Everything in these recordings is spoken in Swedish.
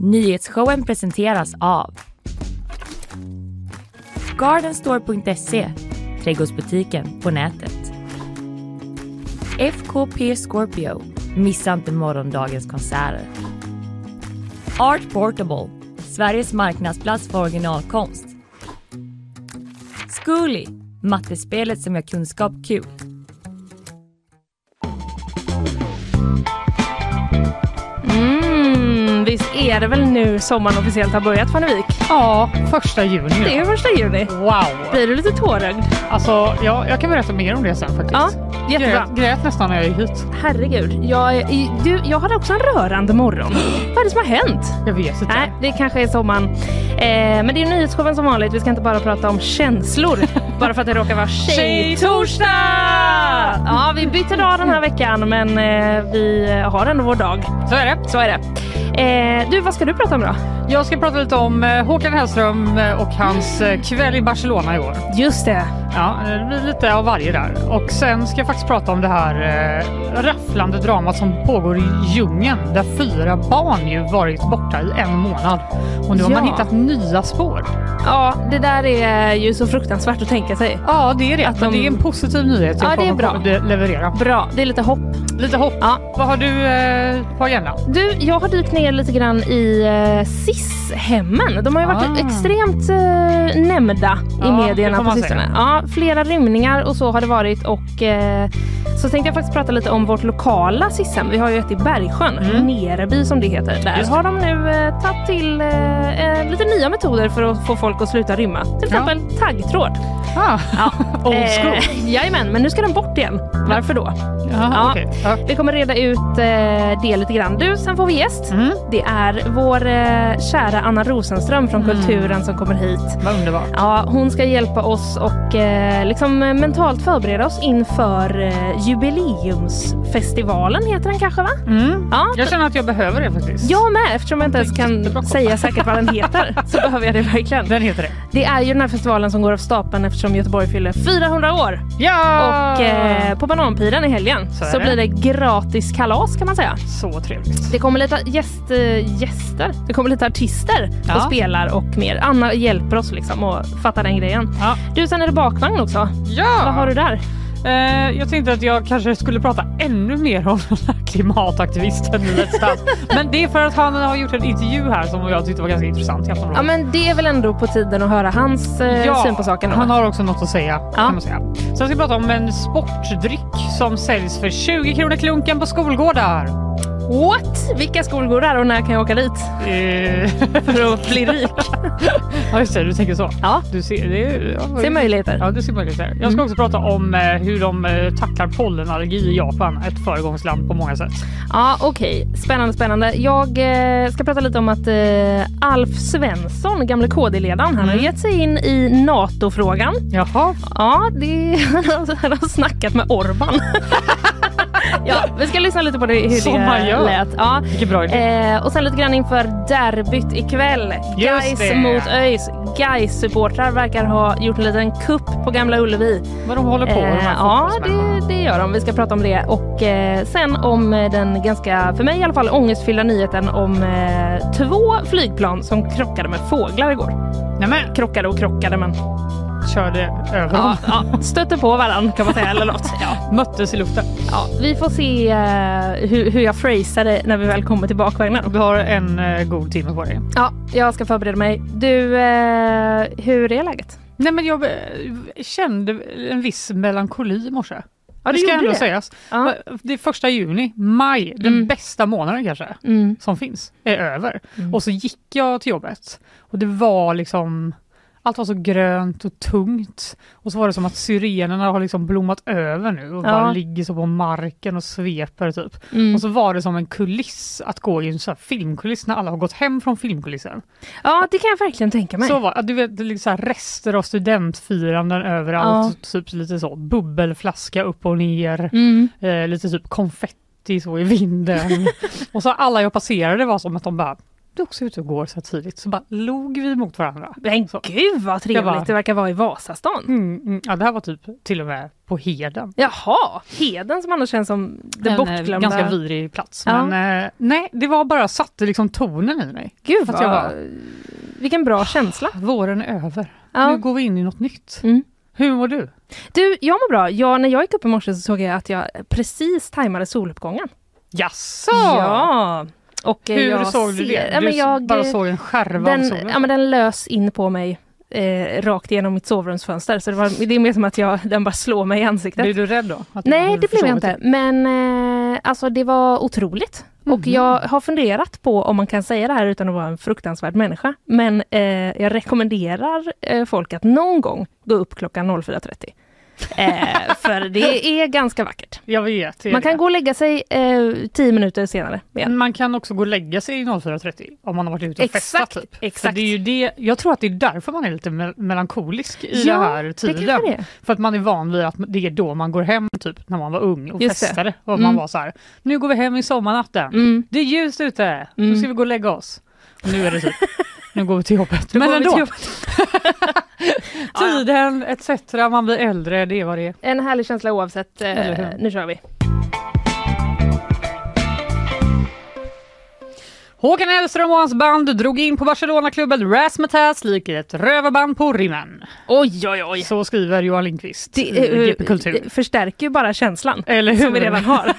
Nyhetsshowen presenteras av Gardenstore.se, trädgårdsbutiken på nätet. FKP Scorpio, missa inte morgondagens konserter. Art Portable, Sveriges marknadsplats för originalkonst. Zcooly, mattespelet som gör kunskap kul. Mm, visst är det väl nu sommaren officiellt har börjat Parnevik? Ja, första juni. Det är första juni. Wow! Blir du lite tårögd? Alltså, ja, jag kan berätta mer om det sen faktiskt. Ja, jättebra. grät, grät nästan när jag gick hit. Herregud, jag, är- i- du, jag hade också en rörande morgon. Vad är det som har hänt? Jag vet inte. Nej, det kanske är sommaren. Eh, men det är nyhetsshowen som vanligt. Vi ska inte bara prata om känslor. bara för att det råkar vara tjejtorsdag! Ja, vi bytte dag den här veckan men eh, vi har ändå vår dag. Så är det. Så är det. Eh, du, vad ska du prata om då? Jag ska prata lite om eh, Håkan Hellström eh, och hans Mm. eh, kväll i Barcelona i år. Just det. Ja, eh, det blir lite av varje där. Och sen ska jag faktiskt prata om det här eh, rafflande dramat som pågår i djungeln där fyra barn ju varit borta i en månad. Och nu har man Ja. hittat nya spår. Ja, det där är ju så fruktansvärt att tänka sig. Ja, det är det. Att Men de- Det är en positiv nyhet. Ja, jag det är kommer bra. att le- Leverera. Bra, det är lite hopp. Lite hopp. Ja. Vad har du eh, på agendan? Du, jag har dykt ner lite grann i eh, SIS-hemmen. De har ju varit Ah. extremt eh, nämnda i Ja, det medierna får på man sistone. Ja, flera rymningar och så har det varit. Och eh, så tänkte jag faktiskt prata lite om vårt lokala SIS-hem. Vi har ju ett i Bergsjön, Mm. Nereby som det heter. Där Just det. har de nu eh, tagit till eh, eh, lite nya metoder för att få folk att sluta rymma. Till Ja. exempel taggtråd. Ah. Ja. Old school. Eh, jajamän, men nu ska den bort igen. Varför då? ja. Jaha, okej. ja. Vi kommer reda ut eh, det lite grann. Du, sen får vi gäst. Mm, Det är vår eh, kära Anna Rosenström från Mm. Kulturen som kommer hit. vad underbart. Ja, hon ska hjälpa oss och eh, liksom eh, mentalt förbereda oss inför eh, jubileumsfestivalen, heter den kanske va? Mm. Ja, Jag känner att jag behöver det faktiskt. jag med eftersom jag inte ens Jättebra. kan säga säkert vad den heter så behöver jag det verkligen. Den heter det. Det är ju den här festivalen som går av stapeln eftersom Göteborg fyller 400 år Ja! och eh, på Bananpiren i helgen Så är så det. blir det gratis kalas kan man säga. Så trevligt. Det kommer lite gäst, eh, gäster, det kommer lite artister Ja. och spelar och mer. Anna hjälper oss liksom att fatta den grejen. Ja. Du, sen är det bakvagn också. ja. Vad har du där? Eh, jag tänkte att jag kanske skulle prata ännu mer om den här klimataktivisten i Let's Dance. Men det är för att han har gjort en intervju här som jag tyckte var ganska intressant i Ja, Aftonbladet. men det är väl ändå på tiden att höra hans eh, syn på saken. Då. han har också något att säga. Ja. Kan man säga. Sen ska jag prata om en sportdryck som säljs för 20 kronor klunken på skolgårdar. What? Vilka skolgårdar och när kan jag åka dit Eh, för att bli rik? ja just det, du tänker så. Ja, Du ser, det är, ja, se möjligheter. Ja, det ser möjligt där. Mm. Jag ska också prata om eh, hur de eh, tacklar pollenallergi i Japan, ett föregångsland på många sätt. Ja, okej. Spännande, spännande. Jag eh, ska prata lite om att eh, Alf Svensson, gamle KD-ledaren, han har Mm. gett sig in i NATO-frågan. Jaha. Ja, det han har snackat med Orban. ja, vi ska lyssna lite på det, hur Som man det gör. lät. Ja. Vilken bra idé. Eh, och sen lite grann inför derbyt ikväll. Just Gais det. mot ÖIS. gais supportrar verkar ha gjort en liten kupp på Gamla Ullevi. Vad de håller på med de Eh, här ja, fotbollsmännen. det, det gör de. Vi ska prata om det. Och eh, sen om eh, den ganska, för mig i alla fall, ångestfyllda nyheten om eh, två flygplan som krockade med fåglar igår. Nej men, Krockade och krockade, men körde över ja, dem. ja, stötte på varandra kan man säga. Eller något. Ja. Möttes i luften. Ja, vi får se eh, hur, hur jag phrasar det när vi väl kommer till bakvagnen. Du har en eh, god timme på dig. Ja, jag ska förbereda mig. Du, eh, hur är läget? Nej men jag eh, kände en viss melankoli i morse. Ja, det du ska gjorde ändå det. sägas. eh, Ja. Det är första juni, maj, den Mm. bästa månaden kanske. Mm. som finns är över. Och så gick jag till jobbet och det var liksom allt var så grönt och tungt och så var det som att syrenerna har liksom blommat över nu och Ja. bara ligger så på marken och sveper typ. Mm. Och så var det som en kuliss att gå i en sån här filmkuliss när alla har gått hem från filmkulissen. Ja, det kan jag verkligen tänka mig. Så var, du vet, det ligger så här rester av studentfiranden överallt, typ lite så bubbelflaska upp och ner Mm. eh, lite typ konfetti så i vinden. och så alla jag passerade var som att de bara du också ute och går så här tidigt? Så bara log vi mot varandra. Men Så. gud vad trevligt bara- det verkar vara i Vasastan. Mm, mm. Ja, det här var typ till och med på Heden. Jaha, Heden som annars känns som det en eh, bortglömda. ganska vidrig plats. Ja. Men eh, nej, det var bara satte liksom tonen i mig. Gud Att vad... jag bara- Vilken bra känsla. Våren är över. Nu Ja. går vi in i något nytt. Mm. Hur mår du? Du, jag mår bra. Jag, när jag gick upp i morse så såg jag att jag precis tajmade soluppgången. Jaså? Ja! Och eh, Hur jag såg du ser- det? Ja, du men s- jag, bara eh, såg en skärva av den, solen? ja, men den lös in på mig eh, rakt igenom mitt sovrumsfönster. Så det, var, det är mer som att jag, den bara slår mig i ansiktet. Blev du rädd då? Att du Nej, hade det blev jag försovit inte. Men eh, alltså, det var otroligt. Mhm. Och jag har funderat på om man kan säga det här utan att vara en fruktansvärd människa. Men eh, jag rekommenderar eh, folk att någon gång gå upp klockan 04.30. Eh, för det är ganska vackert. Jag vet. det är Man det. kan gå och lägga sig eh, 10 minuter senare. Igen. Man kan också gå och lägga sig i 04.30 om man har varit ute och Exakt, festat. Typ. exakt. För det är ju det, jag tror att det är därför man är lite me- melankolisk i Ja, den här tiden. det kanske det är. För att man är van vid att det är då man går hem, typ när man var ung och Just det. festade. Och Mm. man var så här, nu går vi hem i sommarnatten. Mm. Det är ljust ute, nu ska vi gå och lägga oss. Och nu är det typ, nu går vi till jobbet. går Men vi ändå, till tiden etc. Man blir äldre, det är vad det är. En härlig känsla oavsett. Eller Eh, hur? nu kör vi. Håkan Hellström och hans band drog in på Barcelona-klubben Razzmatazz lik ett rövarband på rimmen. Oj, oj, oj. Så skriver Johan Lindqvist Det i GP Mm, Kultur. eh, förstärker ju bara känslan Eller som vi redan hur? har.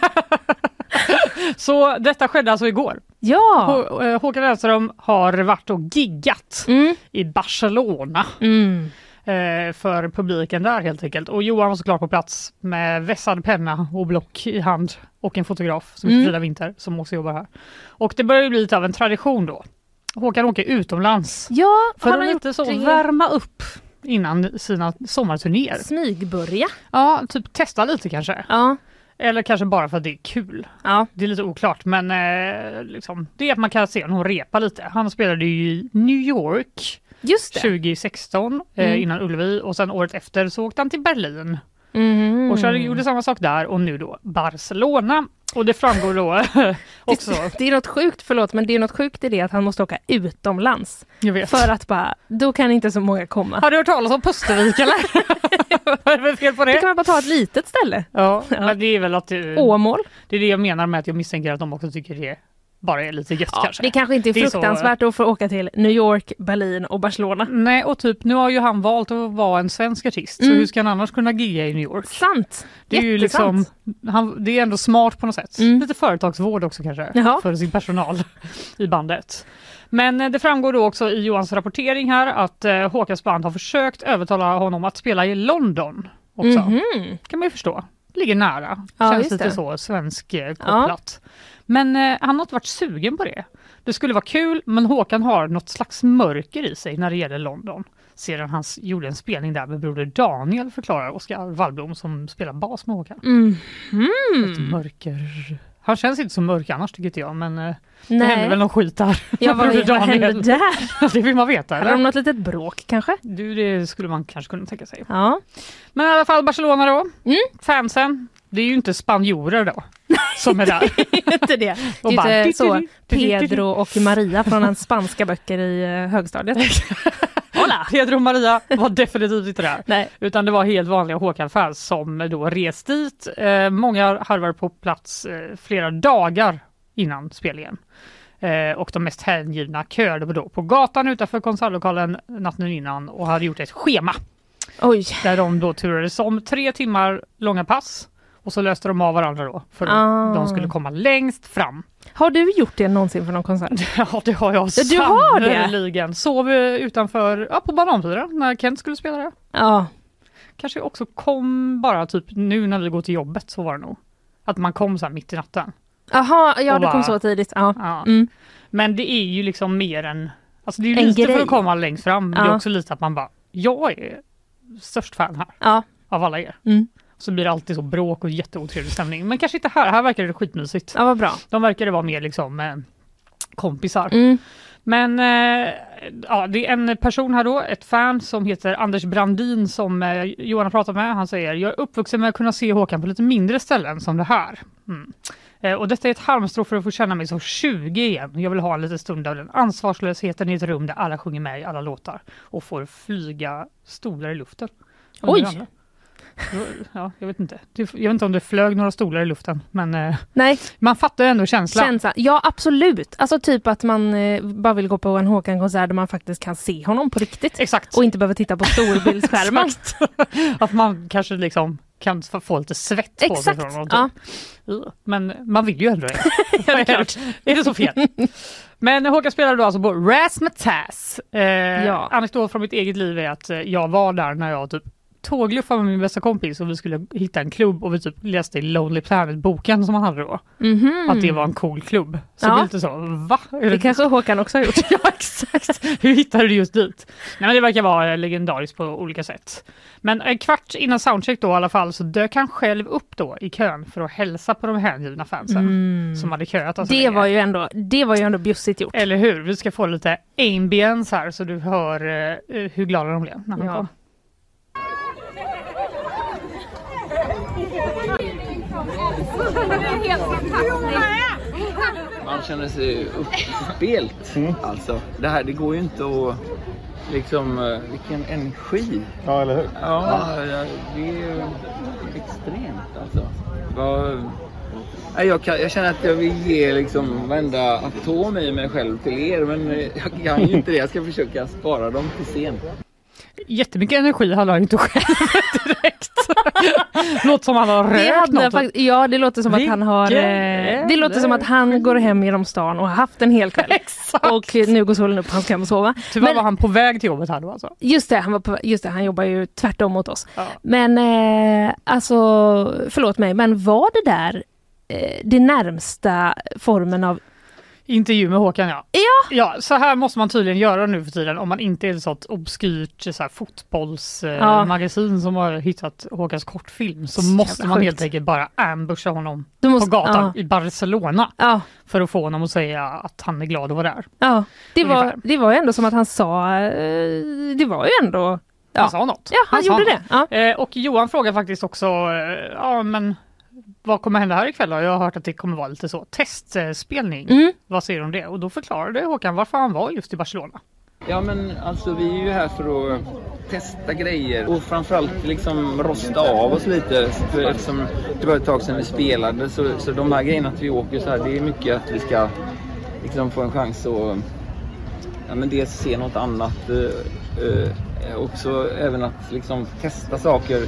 Så detta skedde alltså igår. Ja! Hå- eh, Håkan Hellström har varit och giggat Mm. i Barcelona Mm. eh, för publiken där helt enkelt. Och Johan var såklart på plats med vässad penna och block i hand och en fotograf som heter Mm. Frida Winter som också jobbar här. Och det börjar ju bli lite av en tradition då. Håkan åker utomlands Ja, för har han att gjort lite så det? värma upp innan sina sommarturnéer. Smygbörja. Ja, typ testa lite kanske. Ja. Eller kanske bara för att det är kul. ja. Det är lite oklart, men eh, liksom, det är att man kan se honom repa lite. Han spelade ju i New York Just det. 2016 Mm. eh, innan Ullevi och sen året efter så åkte han till Berlin Mhm. och körde, gjorde samma sak där och nu då Barcelona. Och det framgår då också. Det är något sjukt, förlåt, men det är något sjukt i det att han måste åka utomlands. Jag vet. För att bara, då kan inte så många komma. Har du hört talas om Pustervik eller? Vad är det för fel på Då kan det? man bara ta ett litet ställe. Ja, men det är väl att eh, Åmål. det är det jag menar med att jag misstänker att de också tycker det bara är lite gött Ja, kanske. det kanske inte är Det är så- fruktansvärt att få åka till New York, Berlin och Barcelona. Nej, och typ nu har ju han valt att vara en svensk artist, Mm. så hur ska han annars kunna gigga i New York? Sant! Det är ju liksom, Jättesant. han, det är ändå smart på något sätt. Mm. Lite företagsvård också kanske Jaha. för sin personal i bandet. Men eh, det framgår då också i Johans rapportering här att eh, Håkans band har försökt övertala honom att spela i London också. Mhm. Kan man ju förstå. Ligger nära. Ja, Känns just lite det. så svensk eh, kopplat. Men eh, han har inte varit sugen på det. Det skulle vara kul men Håkan har något slags mörker i sig när det gäller London. Sedan han s- gjorde en spelning där med Broder Daniel förklarar Oskar Wallblom som spelar bas med Håkan. Mm. Ett mörker. Han känns inte så mörk annars tycker inte jag men eh, det hände väl Nej, någon skit där. ja, vad, Broder vad hände Daniel. där? det vill man veta Hade de eller? något litet bråk kanske? Du, det skulle man kanske kunna tänka sig. Ja. Men i alla fall Barcelona då. Mm. Fansen. Det är ju inte spanjorer då som är där. inte det. Och det är bara- inte så Pedro och Maria från hans spanska böcker i eh, högstadiet. Hola! Pedro och Maria var definitivt inte där. Nej. Utan det var helt vanliga Håkan-fans som då rest dit. Eh, många har varit på plats eh, flera dagar innan spelningen. Eh, och de mest hängivna körde då på gatan utanför konsertlokalen natten innan och hade gjort ett schema Oj. där de då turades om tre timmar långa pass och så löste de av varandra då för att Ah. de skulle komma längst fram. Har du gjort det någonsin för någon konsert? Ja det har jag Ja, du har det? sannerligen. Sov eh, utanför, ja på Bananfyran när Kent skulle spela där. Ja. Kanske också kom bara typ nu när vi går till jobbet så var det nog. Att man kom så här mitt i natten. Jaha, ja Och det kom bara- så tidigt. Ja. Ja. Mm. Men det är ju liksom mer än, alltså det är ju En lite grej. för att komma längst fram. Men Det Ja. är också lite att man bara, jag är störst fan här ja. av alla er. Mm. Så blir det alltid så bråk och jätteotrevlig stämning. Men kanske inte här, här verkar det skitmysigt. Ja, vad bra. De verkade vara mer liksom eh, kompisar. Mm. Men eh, ja, det är en person här då, ett fan som heter Anders Brandin som eh, Johan har pratat med. Han säger jag är uppvuxen med att kunna se Håkan på lite mindre ställen som det här. Mm. Eh, Och detta är ett halmstrå för att få känna mig som 20 igen. Jag vill ha en liten stund av den ansvarslösheten i ett rum där alla sjunger med i alla låtar och får flyga stolar i luften. Om Oj! det ramlar. Då- Ja, jag vet inte. Det- Jag vet inte om det flög några stolar i luften, men eh, Nej, man fattar ändå känslan. känslan. Ja, absolut. Alltså typ att man eh, bara vill gå på en Håkan-konsert där man faktiskt kan se honom på riktigt. Exakt. Och inte behöver titta på storbildsskärmen. Exakt. att man kanske liksom kan få- få lite svett på sig. Exakt. från honom, typ. Ja. Men man vill ju ändå det. det är klart. är det så fel? Men Håkan spelade då alltså på Razzmatazz. Eh, Ja. Anekdot från mitt eget liv är att eh, jag var där när jag typ tågluffade med min bästa kompis och vi skulle hitta en klubb och vi typ läste i Lonely Planet-boken som han hade då. Mhm. Att det var en cool klubb. Så Ja. vi lite så, va? Är Det det kanske Håkan också har gjort. ja exakt, hur hittade du just dit? Nej men det verkar vara eh, legendariskt på olika sätt. Men en kvart innan soundcheck då i alla fall så dök han själv upp då i kön för att hälsa på de hängivna fansen som hade köat. oss Mm. Det länge. var ju ändå, det var ju ändå bjussigt gjort. Eller hur, vi ska få lite ambience här så du hör eh, hur glada de blev när han Ja. kom. Man känner sig upp- uppspelt. Mm. Alltså, det här det går ju inte att... Liksom, eh, vilken energi! Ja, eller hur? Ja, ja, det är ju extremt alltså. Vad- Nej, Jag, kan, jag känner att jag vill ge liksom varenda atom i mig själv till er men eh, jag kan ju inte det. Jag ska försöka spara dem till sen. Jättemycket energi hade han inte själv direkt. Låter som han har Det rört hade något. fakt- ja, det låter som att han har... Eh, Vilken det låter som att han går hem genom stan och har haft en hel kväll. Exakt. Och eh, nu går solen upp, han ska hem och sova. Tyvärr Men- var han på väg till jobbet här då alltså. Just det, han, var på, just det, han jobbar ju tvärtom mot oss. Ja. Men eh, alltså, förlåt mig, men var det där eh, det närmsta formen av... Intervju med Håkan ja. Ja. Ja, så här måste man tydligen göra nu för tiden om man inte är ett sånt obskyrt så här, Ja. fotbollsmagasin som har hittat Håkans kortfilm så Så jävla måste man helt sjukt. enkelt bara ambusha honom Du måste- på gatan ja. i Barcelona Ja, för att få honom att säga att han är glad att vara där. ja. Det, var, Ungefär. det var ju ändå som att han sa... Eh, det var ju ändå... Ja. Han sa något. Ja, han, sa gjorde något. det. Ja. Eh, och Johan frågar faktiskt också, eh, ja men vad kommer hända här ikväll då? Jag har hört att det kommer vara lite så testspelning. Mm. Vad säger du om det? Och då förklarade Håkan varför han var just i Barcelona. Ja men alltså vi är ju här för att testa grejer och framförallt liksom rosta av oss lite. För eftersom det var ett tag sedan vi spelade så, så de här grejerna att vi åker så här det är mycket att vi ska liksom få en chans att ja, men dels se något annat eh, eh, också även att liksom testa saker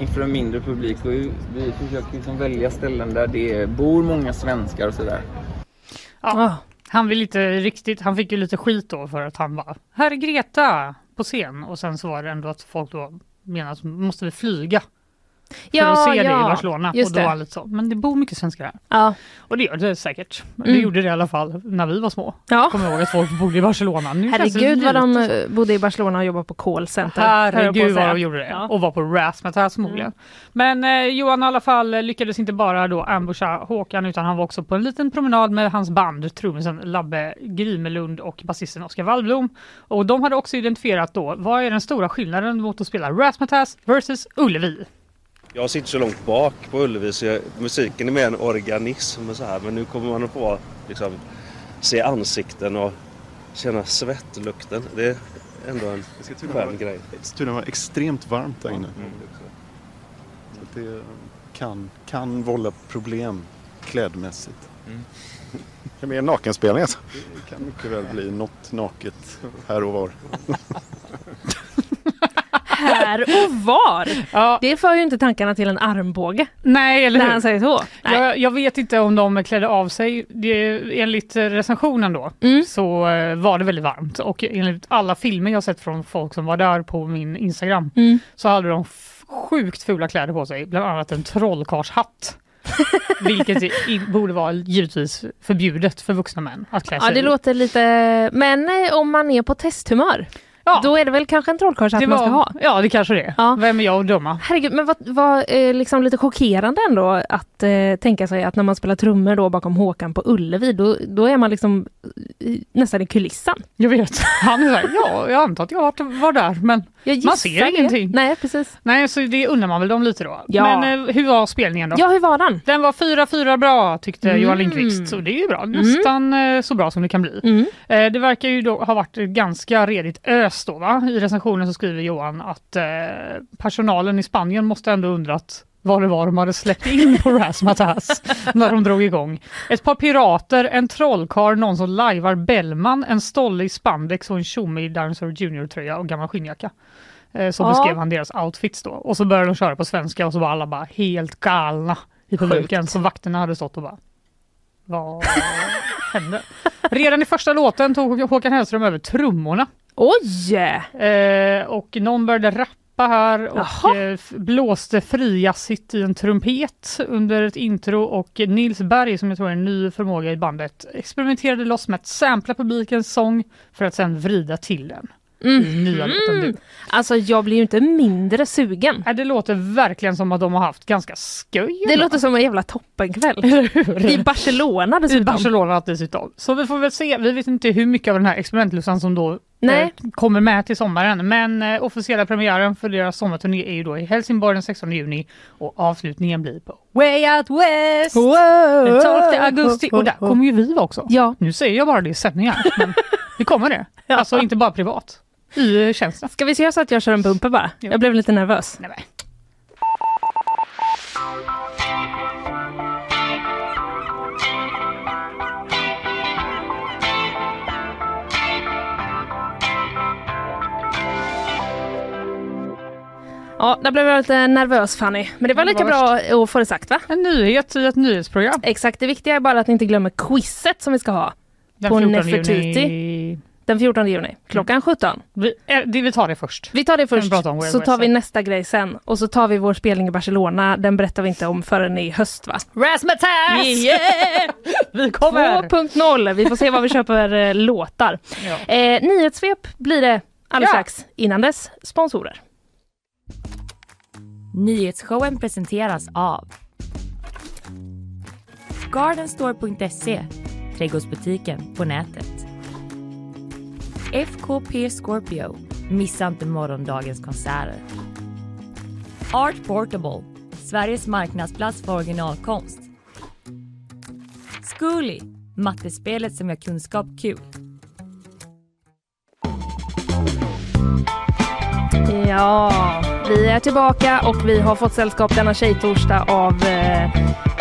inför en mindre publik. Och vi, vi försöker liksom välja ställen där det bor många svenskar och sådär. Ja. Ah. Han vill inte riktigt, han fick ju lite skit då för att han var här är Greta på scen och sen så var det ändå att folk då menar att måste vi flyga för att se det i Barcelona Just och då det. var han lite så, men det bor mycket svenskar här Ja. och det gör det säkert. Det Mm. gjorde det i alla fall när vi var små. Ja. Kommer jag ihåg att folk bodde i Barcelona. Nu känns det Herregud vad lite de eh, bodde i Barcelona och jobbade på callcenter. höll jag på Herregud att vad säga. de gjorde det. Ja. Mm. Och var på Razzmatazz förmodligen. Men eh, Johan i alla fall eh, lyckades inte bara då ambusha Håkan utan han var också på en liten promenad med hans band trummisen Labbe Grimelund och basisten Oskar Wallblom. Och de hade också identifierat då vad är den stora skillnaden mot att spela Razzmatazz versus Ullevi. Jag sitter så långt bak på Ullevi så jag, musiken är mer en organism och så här. Men nu kommer man att få liksom, se ansikten och känna svettlukten. Det är ändå en Det ska skön grej. tydligen vara extremt varmt där inne. Så att det eh, kan, kan vålla problem klädmässigt. Det kan bli en nakenspelning alltså? Det kan mycket väl bli något naket här och var. Här och var! Ja, Det för ju inte tankarna till en armbåge nej eller när hur? han säger så. Nej. Jag, jag vet inte om de klädde av sig. Det, enligt eh, recensionen då Mm. så eh, var det väldigt varmt och enligt alla filmer jag sett från folk som var där på min Instagram Mm. så hade de f- sjukt fula kläder på sig, bland annat en trollkarlshatt. Vilket i, borde vara givetvis förbjudet för vuxna män att klä sig Ja, det i. låter lite... Men eh, om man är på testhumör, ja, då är det väl kanske en trollkarlshatt det man var, ska ha? Ja, det kanske det är. Ja. Vem är jag att döma? Herregud, men vad, vad eh, liksom lite chockerande ändå att eh, tänka sig att när man spelar trummor då bakom Håkan på Ullevi, då, då är man liksom eh, nästan i kulissen. Jag vet. Han är så här, ja, jag antar att jag var, var där, men Jag Man gissar ser det. ingenting. Nej, precis. Nej, så det undrar man väl dem lite då. Ja. Men eh, hur var spelningen då? Ja, hur var den? Den var 4-4 bra tyckte Mm. Johan Lindqvist. Så det är ju bra. Nästan eh, så bra som det kan bli. Mm. Eh, Det verkar ju då ha varit ganska redigt ös då va? I recensionen så skriver Johan att eh, personalen i Spanien måste ändå undrat vad det var de hade släppt in på Razzmatazz när de drog igång. Ett par pirater, en trollkarl, någon som lajvar Bellman, en stolle i spandex och en tjomme i Dinosaur Junior-tröja och gammal skinnjacka. Eh, Så Ja. beskrev han deras outfits då. Och så började de köra på svenska och så var alla bara helt galna i publiken. Så vakterna hade stått och bara... Vad hände? Redan i första låten tog Håkan Hellström över trummorna. Oj! Eh, och någon började rappa här och Jaha. eh, f- blåste frijazzigt i en trumpet under ett intro och Nils Berg som jag tror är en ny förmåga i bandet experimenterade loss med att sampla publikens sång för att sen vrida till den. i Mm. Nya låten du. Alltså jag blir ju inte mindre sugen. Äh, det låter verkligen som att de har haft ganska skoj. Det låter som en jävla toppenkväll. I Barcelona I dessutom. Typ Barcelona dessutom. Så vi får väl se. Vi vet inte hur mycket av den här experimentlussan som då eh, Nej. kommer med till sommaren. Men eh, officiella premiären för deras sommarturné är ju då i Helsingborg den 16 juni och avslutningen blir på Way Out West den 12 augusti. Och där kommer ju vi vara också. Ja. Nu säger jag bara det i sändningar, men vi kommer det. Alltså inte bara privat, i eh, tjänsten. Ska vi se så att jag kör en bumper bara? Jag blev lite nervös. Nej, nej. Ja, där blev jag lite nervös Fanny. Men det var lika bra att få det sagt va? En nyhet i ett nyhetsprogram Exakt, det viktiga är bara att ni inte glömmer quizet som vi ska ha den På 14 juni. Nefertiti. den 14 juni klockan 17. Vi, eh, det, vi tar det först. Vi tar det först, prata om Wild så West tar vi sen. nästa grej sen. Och så tar vi vår spelning i Barcelona, den berättar vi inte om förrän i höst va? Razzmatazz! Yeah! Vi kommer! 2.0, vi får se vad vi köper eh, låtar. Ja. Eh, nyhetssvep blir det alldeles Ja. strax. Innan dess, sponsorer. Nyhetsshowen presenteras av Gardenstore.se Trädgårdsbutiken på nätet. FKP Scorpio. Missa inte morgondagens konserter. Art Portable. Sveriges marknadsplats för originalkonst. Zcooly. Mattespelet som gör kunskap kul. Ja, vi är tillbaka och vi har fått sällskap denna tjejtorsdag av eh,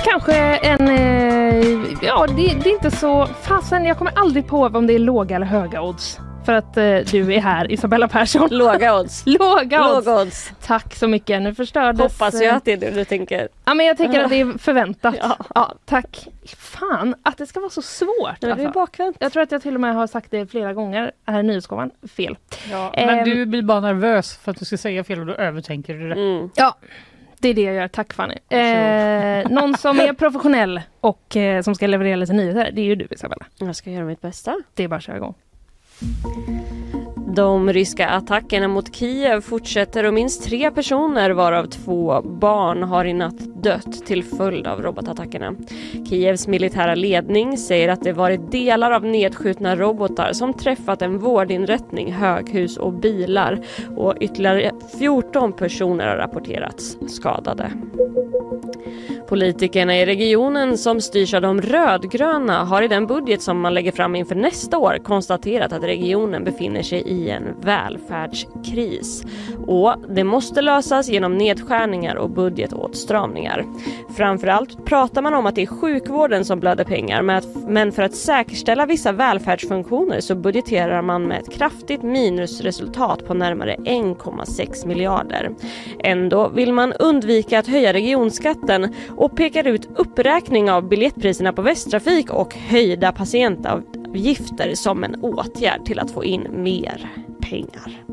kanske en... Eh, ja, det, det är inte så... Fasen, jag kommer aldrig på om det är låga eller höga odds. För att eh, du är här, Isabella Persson. Låga odds. Låga odds. Låga odds. Tack så mycket. Nu förstördes... Hoppas jag eh, att det är det du tänker. Ja, men jag tänker att det är förväntat. Ja. Ja, tack. Fan, att det ska vara så svårt. Är du Alltså. bakvänd? Jag tror att jag till och med har sagt det flera gånger här i Nyhetsgåvan. Fel. Ja, men Ehm. du blir bara nervös för att du ska säga fel och då övertänker du det. Mm. Det är det jag gör, tack Fanny. Eh, någon som är professionell och eh, som ska leverera lite nyheter, det är ju du Isabella. Jag ska göra mitt bästa. Det är bara att köra igång. De ryska attackerna mot Kiev fortsätter och minst tre personer, varav två barn, har i natt dött till följd av robotattackerna. Kievs militära ledning säger att det varit delar av nedskjutna robotar som träffat en vårdinrättning, höghus och bilar och ytterligare 14 personer har rapporterats skadade. Politikerna i regionen som styrs av de rödgröna har i den budget som man lägger fram inför nästa år konstaterat att regionen befinner sig i en välfärdskris. Och det måste lösas genom nedskärningar och budgetåtstramningar. Framförallt pratar man om att det är sjukvården som blöder pengar men att- men för att säkerställa vissa välfärdsfunktioner så budgeterar man med ett kraftigt minusresultat på närmare 1,6 miljarder. Ändå vill man undvika att höja regionskatten och pekar ut uppräkning av biljettpriserna på Västtrafik och höjda patientavgifter som en åtgärd till att få in mer pengar.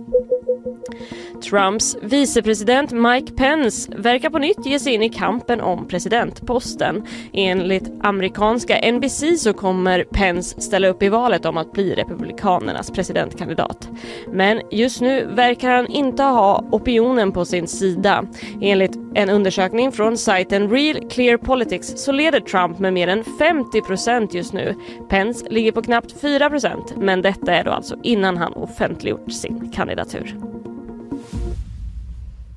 Trumps vicepresident Mike Pence verkar på nytt ge sig in i kampen om presidentposten. Enligt amerikanska NBC så kommer Pence ställa upp i valet om att bli republikanernas presidentkandidat. Men just nu verkar han inte ha opinionen på sin sida. Enligt en undersökning från sajten Real Clear Politics så leder Trump med mer än 50 procent just nu. Pence ligger på knappt 4 procent men detta är då alltså innan han offentliggjort sin kandidatur.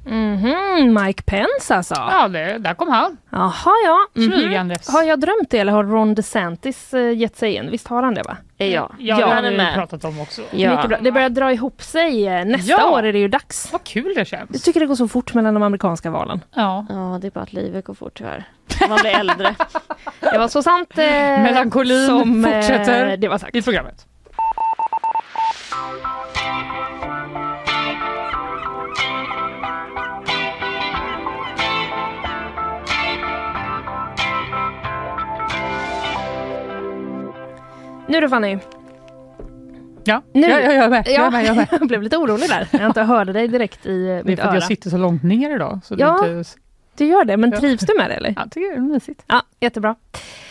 Mhm, Mike Pence alltså. Ja, det, där kom han. Jaha, ja. Mm-hmm. Mhm. Smygandes. Har jag drömt det eller har Ron DeSantis eh, gett sig in? Visst har han det va? Eh, Ja, Ja, det har han vi är ju med. pratat om också. Mycket bra. Ja. Det börjar dra ihop sig. eh, Nästa Ja. år är det ju dags. Vad kul det Jag känns. tycker det går så fort mellan de amerikanska valen. Ja. ja, det är bara att livet går fort tyvärr. Man blir äldre. Det var så sant. Eh, Melankolin som, eh, fortsätter. Det var sagt. I programmet. Nu då Fanny. Ja, Nu. Ja, ja, jag är med. Jag är med, jag är med. jag blev lite orolig där. Jag inte hörde dig direkt i eh, Det är mitt för att öra. jag sitter så långt ner idag. Så det Ja. är inte... Du gör det, men Ja. trivs du med det eller? Jag tycker det är mysigt. Ja, jättebra.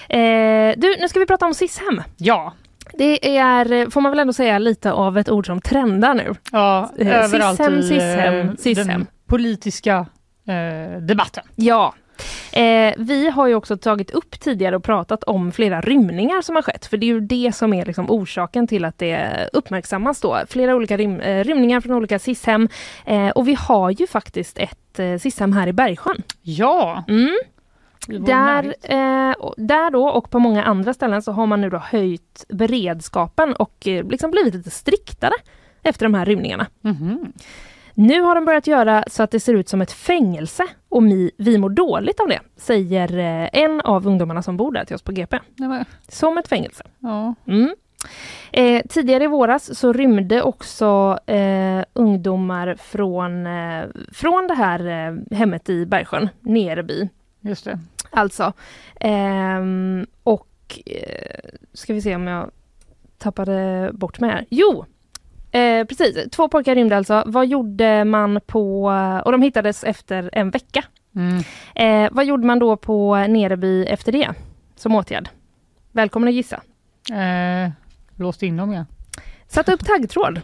Eh, du, nu ska vi prata om SISHEM. Ja, Det är, eh, får man väl ändå säga, lite av ett ord som trendar nu. ja Eh, överallt Sishem, i eh, Sishem, Sishem. den politiska eh, debatten. Ja. Eh, vi har ju också tagit upp tidigare och pratat om flera rymningar som har skett. För det är ju det som är liksom orsaken till att det uppmärksammas då. Flera olika rym- eh, rymningar från olika SIS-hem. Eh, och vi har ju faktiskt ett eh, SIS-hem här i Bergsjön. Ja, Mm. i vår Där, närhet. eh, och- där då och på många andra ställen så har man nu då höjt beredskapen och eh, liksom blivit lite striktare efter de här rymningarna. Mhm. Nu har de börjat göra så att det ser ut som ett fängelse och mi, vi mår dåligt av det, säger eh, en av ungdomarna som bor där till oss på GP. Nej, men, Som ett fängelse. ja. Mm. Eh, tidigare i våras så rymde också eh, ungdomar från, eh, från det här eh, hemmet i Bergsjön, Nereby. Just det. Alltså. Ehm, och eh, ska vi se om jag tappade bort mig här. Jo! Eh, precis, två pojkar rymde alltså. Vad gjorde man på... Och de hittades efter en vecka. Mm. Eh, vad gjorde man då på Nereby efter det? Som åtgärd? Välkommen att gissa. Eh, låst in dem igen. Satte upp taggtråd.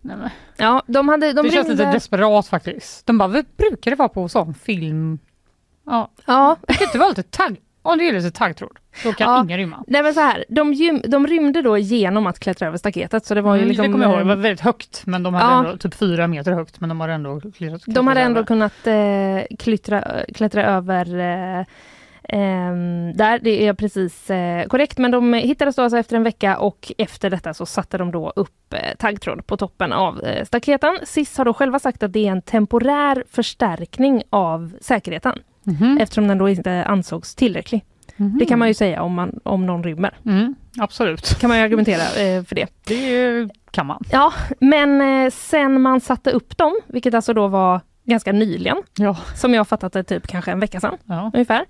Nej, men. Ja, de hade... De det känns rymde... lite desperat faktiskt. De bara, vi brukar det vara på sån film? Ja, ja, det kan inte vara lite tagg... Om det är lite taggtråd, då kan Ja. ingen rymma. nej men så här. De, gym, de rymde då genom att klättra över staketet. Så det var ju Mm, liksom... det kommer jag ihåg, eh, det var väldigt högt men de hade Ja. ändå typ fyra meter högt men de hade ändå klättrat De hade ändå över. kunnat eh, klättra, klättra över eh, ehm, där, det är precis eh, korrekt. Men de hittades då alltså efter en vecka och efter detta så satte de då upp eh, taggtråd på toppen av eh, staketen. SIS har då själva sagt att det är en temporär förstärkning av säkerheten Mhm. eftersom den då inte ansågs tillräcklig. Mhm. Det kan man ju säga om, man, om någon rymmer. Mm, absolut, kan man ju argumentera eh, för det. det kan man. Ja, men eh, sen man satte upp dem, vilket alltså då var ganska nyligen, Ja. som jag fattat det typ kanske en vecka sedan. Ja. ungefär.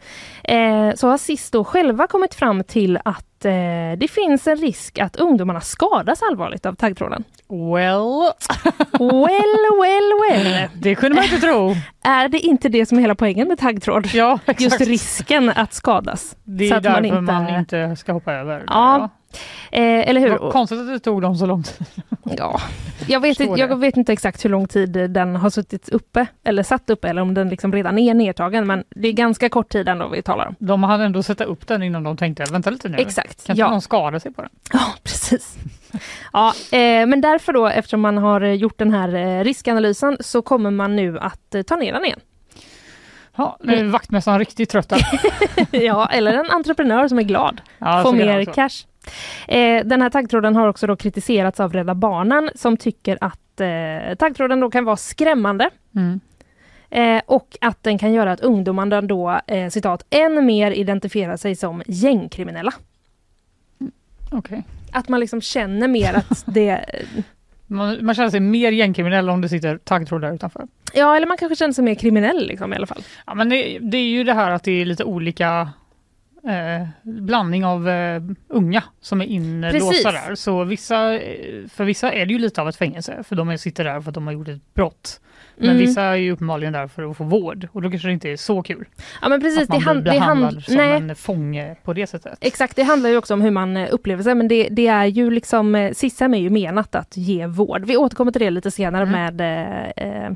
Eh, så har SIS då själva kommit fram till att eh, det finns en risk att ungdomarna skadas allvarligt av taggtråden. Well, eh, Well, well, well. det kunde man inte tro. Är det inte det som är hela poängen med taggtråd? Ja, exakt. Just risken att skadas. Det så är att man därför man inte- inte... ska hoppa över. Ja, Eh, eller Ja. Vad hur? Konstigt att det tog dem så lång tid. Ja. Jag, vet, Förstår inte- jag det. vet inte exakt hur lång tid den har suttit uppe, eller satt uppe, eller om den liksom redan är nedtagen, men det är ganska kort tid ändå vi talar om. De hann ändå sätta upp den innan de tänkte, vänta lite nu, Exakt. kan inte någon skada sig på den? Ja, precis. Ja, eh, men därför då, eftersom man har eh, gjort den här eh, riskanalysen, så kommer man nu att eh, ta ner den igen. Ja, nu Mm. är vaktmästaren riktigt trött. här. ja, eller en entreprenör som är glad, får Ja, så kan det mer också. cash. Eh, den här taggtråden har också då kritiserats av Rädda Barnen som tycker att eh, taggtråden då kan vara skrämmande Mm. eh, och att den kan göra att ungdomarna då, eh, citat, än mer identifierar sig som gängkriminella. Okej. Att man liksom känner mer att det... Man, man känner sig mer gängkriminell om det sitter taggtråd där utanför. Ja, eller man kanske känner sig mer kriminell liksom, i alla fall. Ja, men det, det är ju det här att det är lite olika eh, blandning av eh, unga som är Precis. inlåsta där. Så vissa, eh, för vissa är det ju lite av ett fängelse, för de sitter där för att de har gjort ett brott. Men Mm. vissa är ju uppenbarligen där för att få vård och då kanske det inte är så kul Ja men precis, att man det, han, blir det, behandlad han, som nej, en fånge på det sättet. exakt, det handlar ju också om hur man eh, upplever sig men det, det är ju liksom, eh, SISAM är ju menat att ge vård. Vi återkommer till det lite senare Mm. med eh, eh,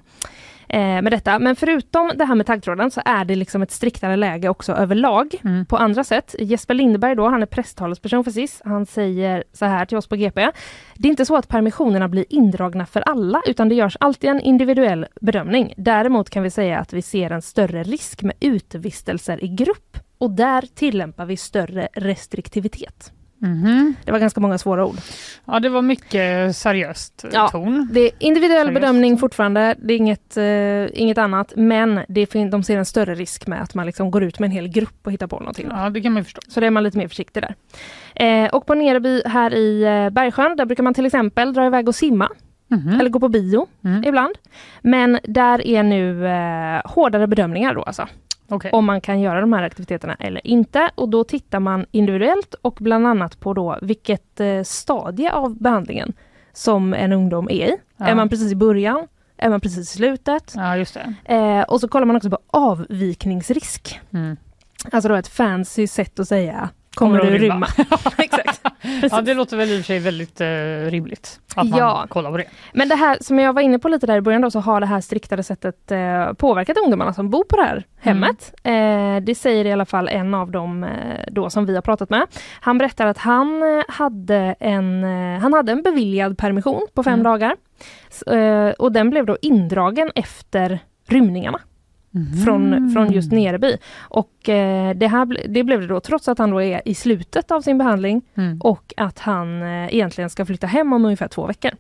eh, med detta. Men förutom det här med taggtråden så är det liksom ett striktare läge också överlag Mm. på andra sätt. Jesper Lindberg då, han är presstalesperson för SIS. Han säger så här till oss på GP. Det är inte så att permissionerna blir indragna för alla utan det görs alltid en individuell bedömning. Däremot kan vi säga att vi ser en större risk med utevistelser i grupp och där tillämpar vi större restriktivitet. Mhm. Det var ganska många svåra ord. Ja, det var mycket seriöst eh, Ja. ton. Det är individuell Seriöst. bedömning fortfarande, det är inget, eh, inget annat, men det fin- de ser en större risk med att man liksom går ut med en hel grupp och hittar på någonting. Ja, det kan man ju förstå. Så det är man lite mer försiktig där. Eh, och på Nereby här i eh, Bergsjön, där brukar man till exempel dra iväg och simma Mhm. eller gå på bio Mm. ibland. Men där är nu eh, hårdare bedömningar då alltså, Okej. om man kan göra de här aktiviteterna eller inte. Och då tittar man individuellt och bland annat på då vilket eh, stadie av behandlingen som en ungdom är i. Ja. Är man precis i början? Är man precis i slutet? Ja, just det. Eh, och så kollar man också på avvikningsrisk. Mm. Alltså då ett fancy sätt att säga Kommer, Kommer du att rymma? rymma? Exakt. Precis. Ja, det låter väl i och för sig väldigt eh, rimligt att man Ja. kollar på det. Men det här som jag var inne på lite där i början då, så har det här striktare sättet eh, påverkat ungdomarna som bor på det här hemmet. Eh, det säger i alla fall en av dem eh, då som vi har pratat med. Han berättar att han eh, hade en, eh, han hade en beviljad permission på fem Mm. dagar. S- eh, och den blev då indragen efter rymningarna. Mhm. Mm. från, från just Nereby. Och eh, det, här, ble- det blev det då trots att han då är i slutet av sin behandling Mm. och att han eh, egentligen ska flytta hem om ungefär två veckor.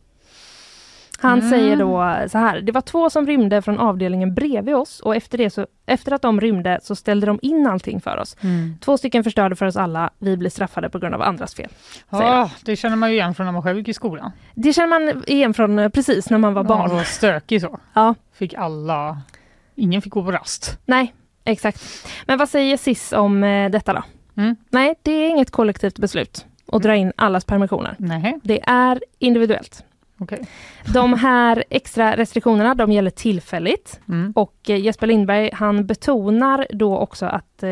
Han Mm. säger då så här, det var två som rymde från avdelningen bredvid oss och efter, det så, efter att de rymde så ställde de in allting för oss. Mm. Två stycken förstörde för oss alla, vi blev straffade på grund av andras fel. säger Ja, det känner man ju igen från när man själv gick i skolan. Det känner man igen från eh, precis när man var barn. Man var stökig så. Ja. Fick alla... Ingen fick gå på rast. Nej, exakt. Men vad säger SIS om eh, detta då? Mm. Nej, det är inget kollektivt beslut att dra in allas permissioner. Nej, Det är individuellt. okej. De här extra restriktionerna de gäller tillfälligt Mm. och eh, Jesper Lindberg han betonar då också att, eh,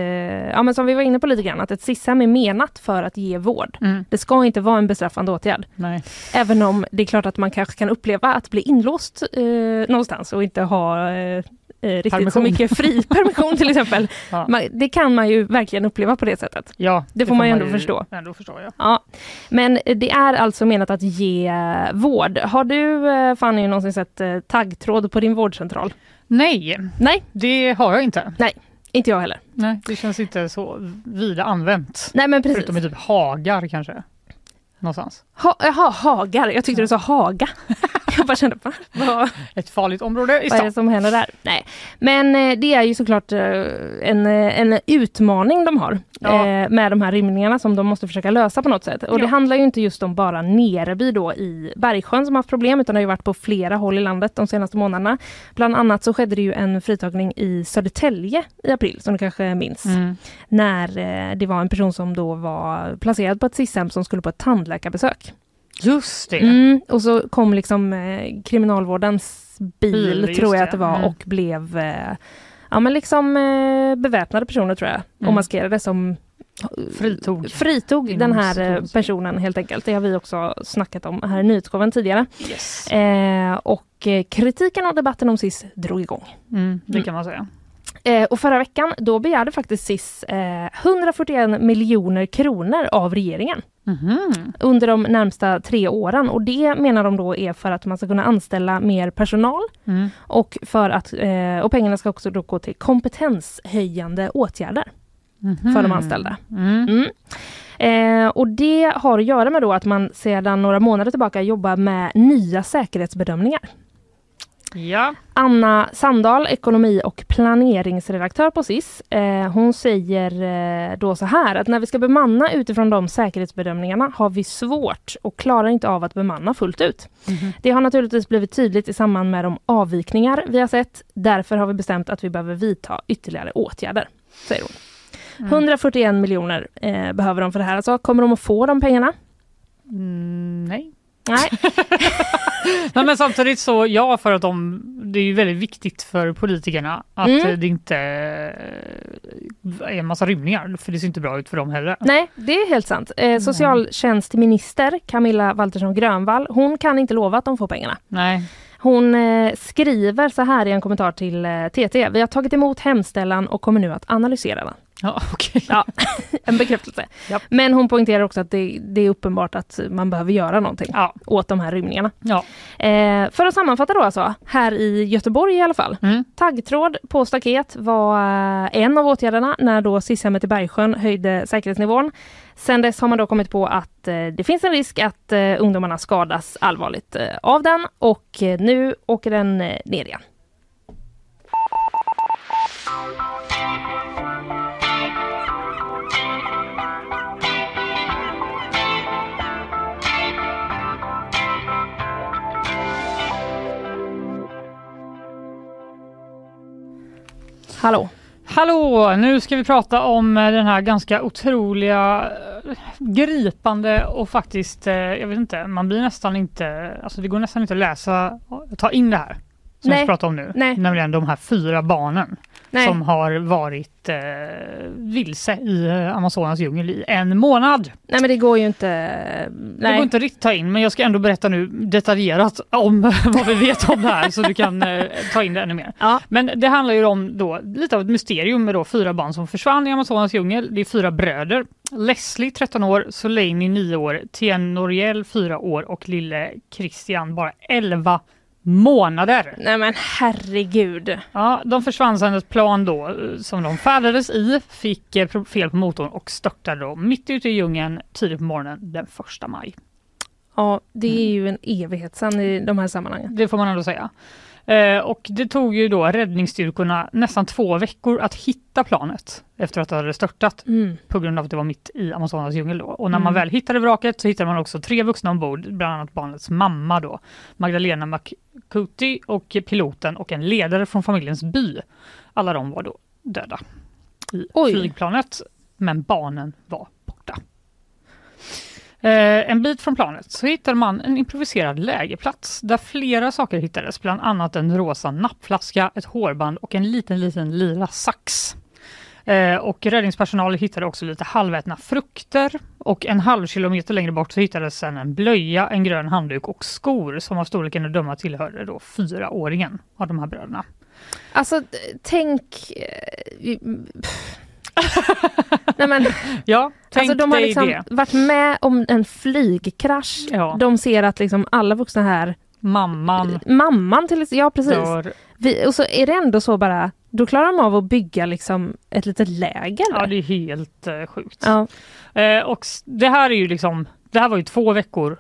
ja men som vi var inne på lite grann, att ett SIS-hem är menat för att ge vård. Mm. Det ska inte vara en bestraffande åtgärd, Nej. även om det är klart att man kanske kan uppleva att bli inlåst eh, någonstans och inte ha eh, eh, riktigt så Permission. mycket fri permission till exempel. Ja. Man, det kan man ju verkligen uppleva på det sättet. Ja, Det får man ju ändå förstå. Ändå förstå ja. Ja, men det är alltså menat att ge eh, vård. Har du eh, Fanny någonsin sett eh, taggtråd på din vårdcentral? Nej, Nej, det har jag inte. inte jag heller. Nej, det känns inte så vida använt. Nej men precis. Förutom i typ hagar kanske. Någonstans. Ha, jaha, hagar. Jag tyckte du sa haga. jag bara kände, va? Vad, Ett farligt område i vad är det stan. som händer där? Nej, men eh, det är ju såklart eh, en, eh, en utmaning de har Ja. eh, med de här rymningarna som de måste försöka lösa på något sätt. Och det Ja. handlar ju inte just om bara Nereby då i Bergsjön som har haft problem utan det har ju varit på flera håll i landet de senaste månaderna. Bland annat så skedde det ju en fritagning i Södertälje i april som du kanske minns. Mm. När eh, det var en person som då var placerad på ett SIS-hem som skulle på ett tandläkarbesök. Just det. Mm, och så kom liksom eh, kriminalvårdens bil, Bil, just tror jag det. att det var, Mm. och blev eh, ja, men liksom, eh, beväpnade personer tror jag, och Mm. maskerade som Fritog. fritog den här eh, Inom personen helt enkelt. Det har vi också snackat om här i nyhetsshowen tidigare. Yes. Eh, och eh, kritiken och debatten om SIS drog igång. Mm, det Mm. kan man säga. Eh, och förra veckan då begärde faktiskt SIS eh, 141 miljoner kronor av regeringen Mhm. under de närmsta tre åren och det menar de då är för att man ska kunna anställa mer personal Mm. och, för att, eh, och pengarna ska också då gå till kompetenshöjande åtgärder Mhm. för de anställda. Mm. Mm. Eh, och det har att göra med då att man sedan några månader tillbaka jobbar med nya säkerhetsbedömningar. Ja. Anna Sandahl, ekonomi och planeringsredaktör på SIS, eh, hon säger eh, då så här att när vi ska bemanna utifrån de säkerhetsbedömningarna har vi svårt och klarar inte av att bemanna fullt ut. Det har naturligtvis blivit tydligt i samband med de avvikningar vi har sett. Därför har vi bestämt att vi behöver vidta ytterligare åtgärder, säger hon. 141 miljoner eh, behöver de för det här. Alltså, kommer de att få de pengarna? Mm, nej. Nej, Nej, men samtidigt så ja, för att de, det är ju väldigt viktigt för politikerna att Mm. eh, det inte eh, är en massa rymningar, för det ser inte bra ut för dem heller. Nej, det är helt sant. Mm. Eh, socialtjänstminister Camilla Waltersson Grönvall, hon kan inte lova att de får pengarna. Nej. Hon eh, skriver så här i en kommentar till eh, TT. Vi har tagit emot hemställan och kommer nu att analysera den. Ja, okej. Ja, en bekräftelse. Japp. Men hon poängterar också att det, det är uppenbart att man behöver göra någonting Ja. åt de här rymningarna. Ja. Eh, för att sammanfatta då alltså, här i Göteborg i alla fall. Mm. Taggtråd på staket var eh, en av åtgärderna när då SIS-hemmet i Bergsjön höjde säkerhetsnivån. Sen dess har man då kommit på att eh, det finns en risk att eh, ungdomarna skadas allvarligt eh, av den och eh, nu åker den eh, ner igen. Hallå! Hallå! Nu ska vi prata om eh, den här ganska otroliga, eh, gripande och faktiskt, eh, jag vet inte, man blir nästan inte, alltså det går nästan inte att läsa, ta in det här. Som Nej. vi ska prata om nu, Nej. nämligen de här fyra barnen Nej. som har varit eh, vilse i eh, Amazonas djungel i en månad. Nej men det går ju inte... Det Nej. går inte riktigt ta in, men jag ska ändå berätta nu detaljerat om vad vi vet om det här så du kan eh, ta in det ännu mer. Ja. Men det handlar ju om då, lite av ett mysterium med då fyra barn som försvann i Amazonas djungel. Det är fyra bröder. Leslie 13 år, Soleini 9 år, Tien Noriel 4 år och lille Christian bara 11 månader. Nej men herregud. Ja, de försvann sedan ett plan då eh, som de färdades i, fick eh, pro- fel på motorn och störtade då mitt ute i djungeln tidigt på morgonen den 1 maj. Ja, det är Mm. ju en evighet sen i de här sammanhangen. Det får man ändå säga. Eh, och det tog ju då räddningsstyrkorna nästan två veckor att hitta planet efter att det hade störtat Mm. på grund av att det var mitt i Amazonas djungel då. Och när Mm. man väl hittade vraket så hittade man också tre vuxna ombord, bland annat barnets mamma då, Magdalena McCuti och piloten och en ledare från familjens by. Alla de var då döda i Oj. flygplanet, men barnen var borta. Eh, en bit från planet så hittade man en improviserad lägerplats där flera saker hittades, bland annat en rosa nappflaska, ett hårband och en liten, liten lila sax. Eh, och räddningspersonal hittade också lite halvätna frukter och en halv kilometer längre bort så hittades sen en blöja, en grön handduk och skor som av storleken att döma tillhörde då fyraåringen av de här bröderna. Alltså, d- tänk... eh, vi- pff. Nej men, Ja, tänk alltså de har dig liksom det. varit med om en flygkrasch. Ja. De ser att liksom alla vuxna här, Mamman mamman till exempel, ja precis. dör. Vi, och så är det ändå så bara, då klarar de av att bygga liksom ett litet läger. Ja, det är helt eh, sjukt. ja. Eh, och s- det här är ju liksom, det här var ju två veckor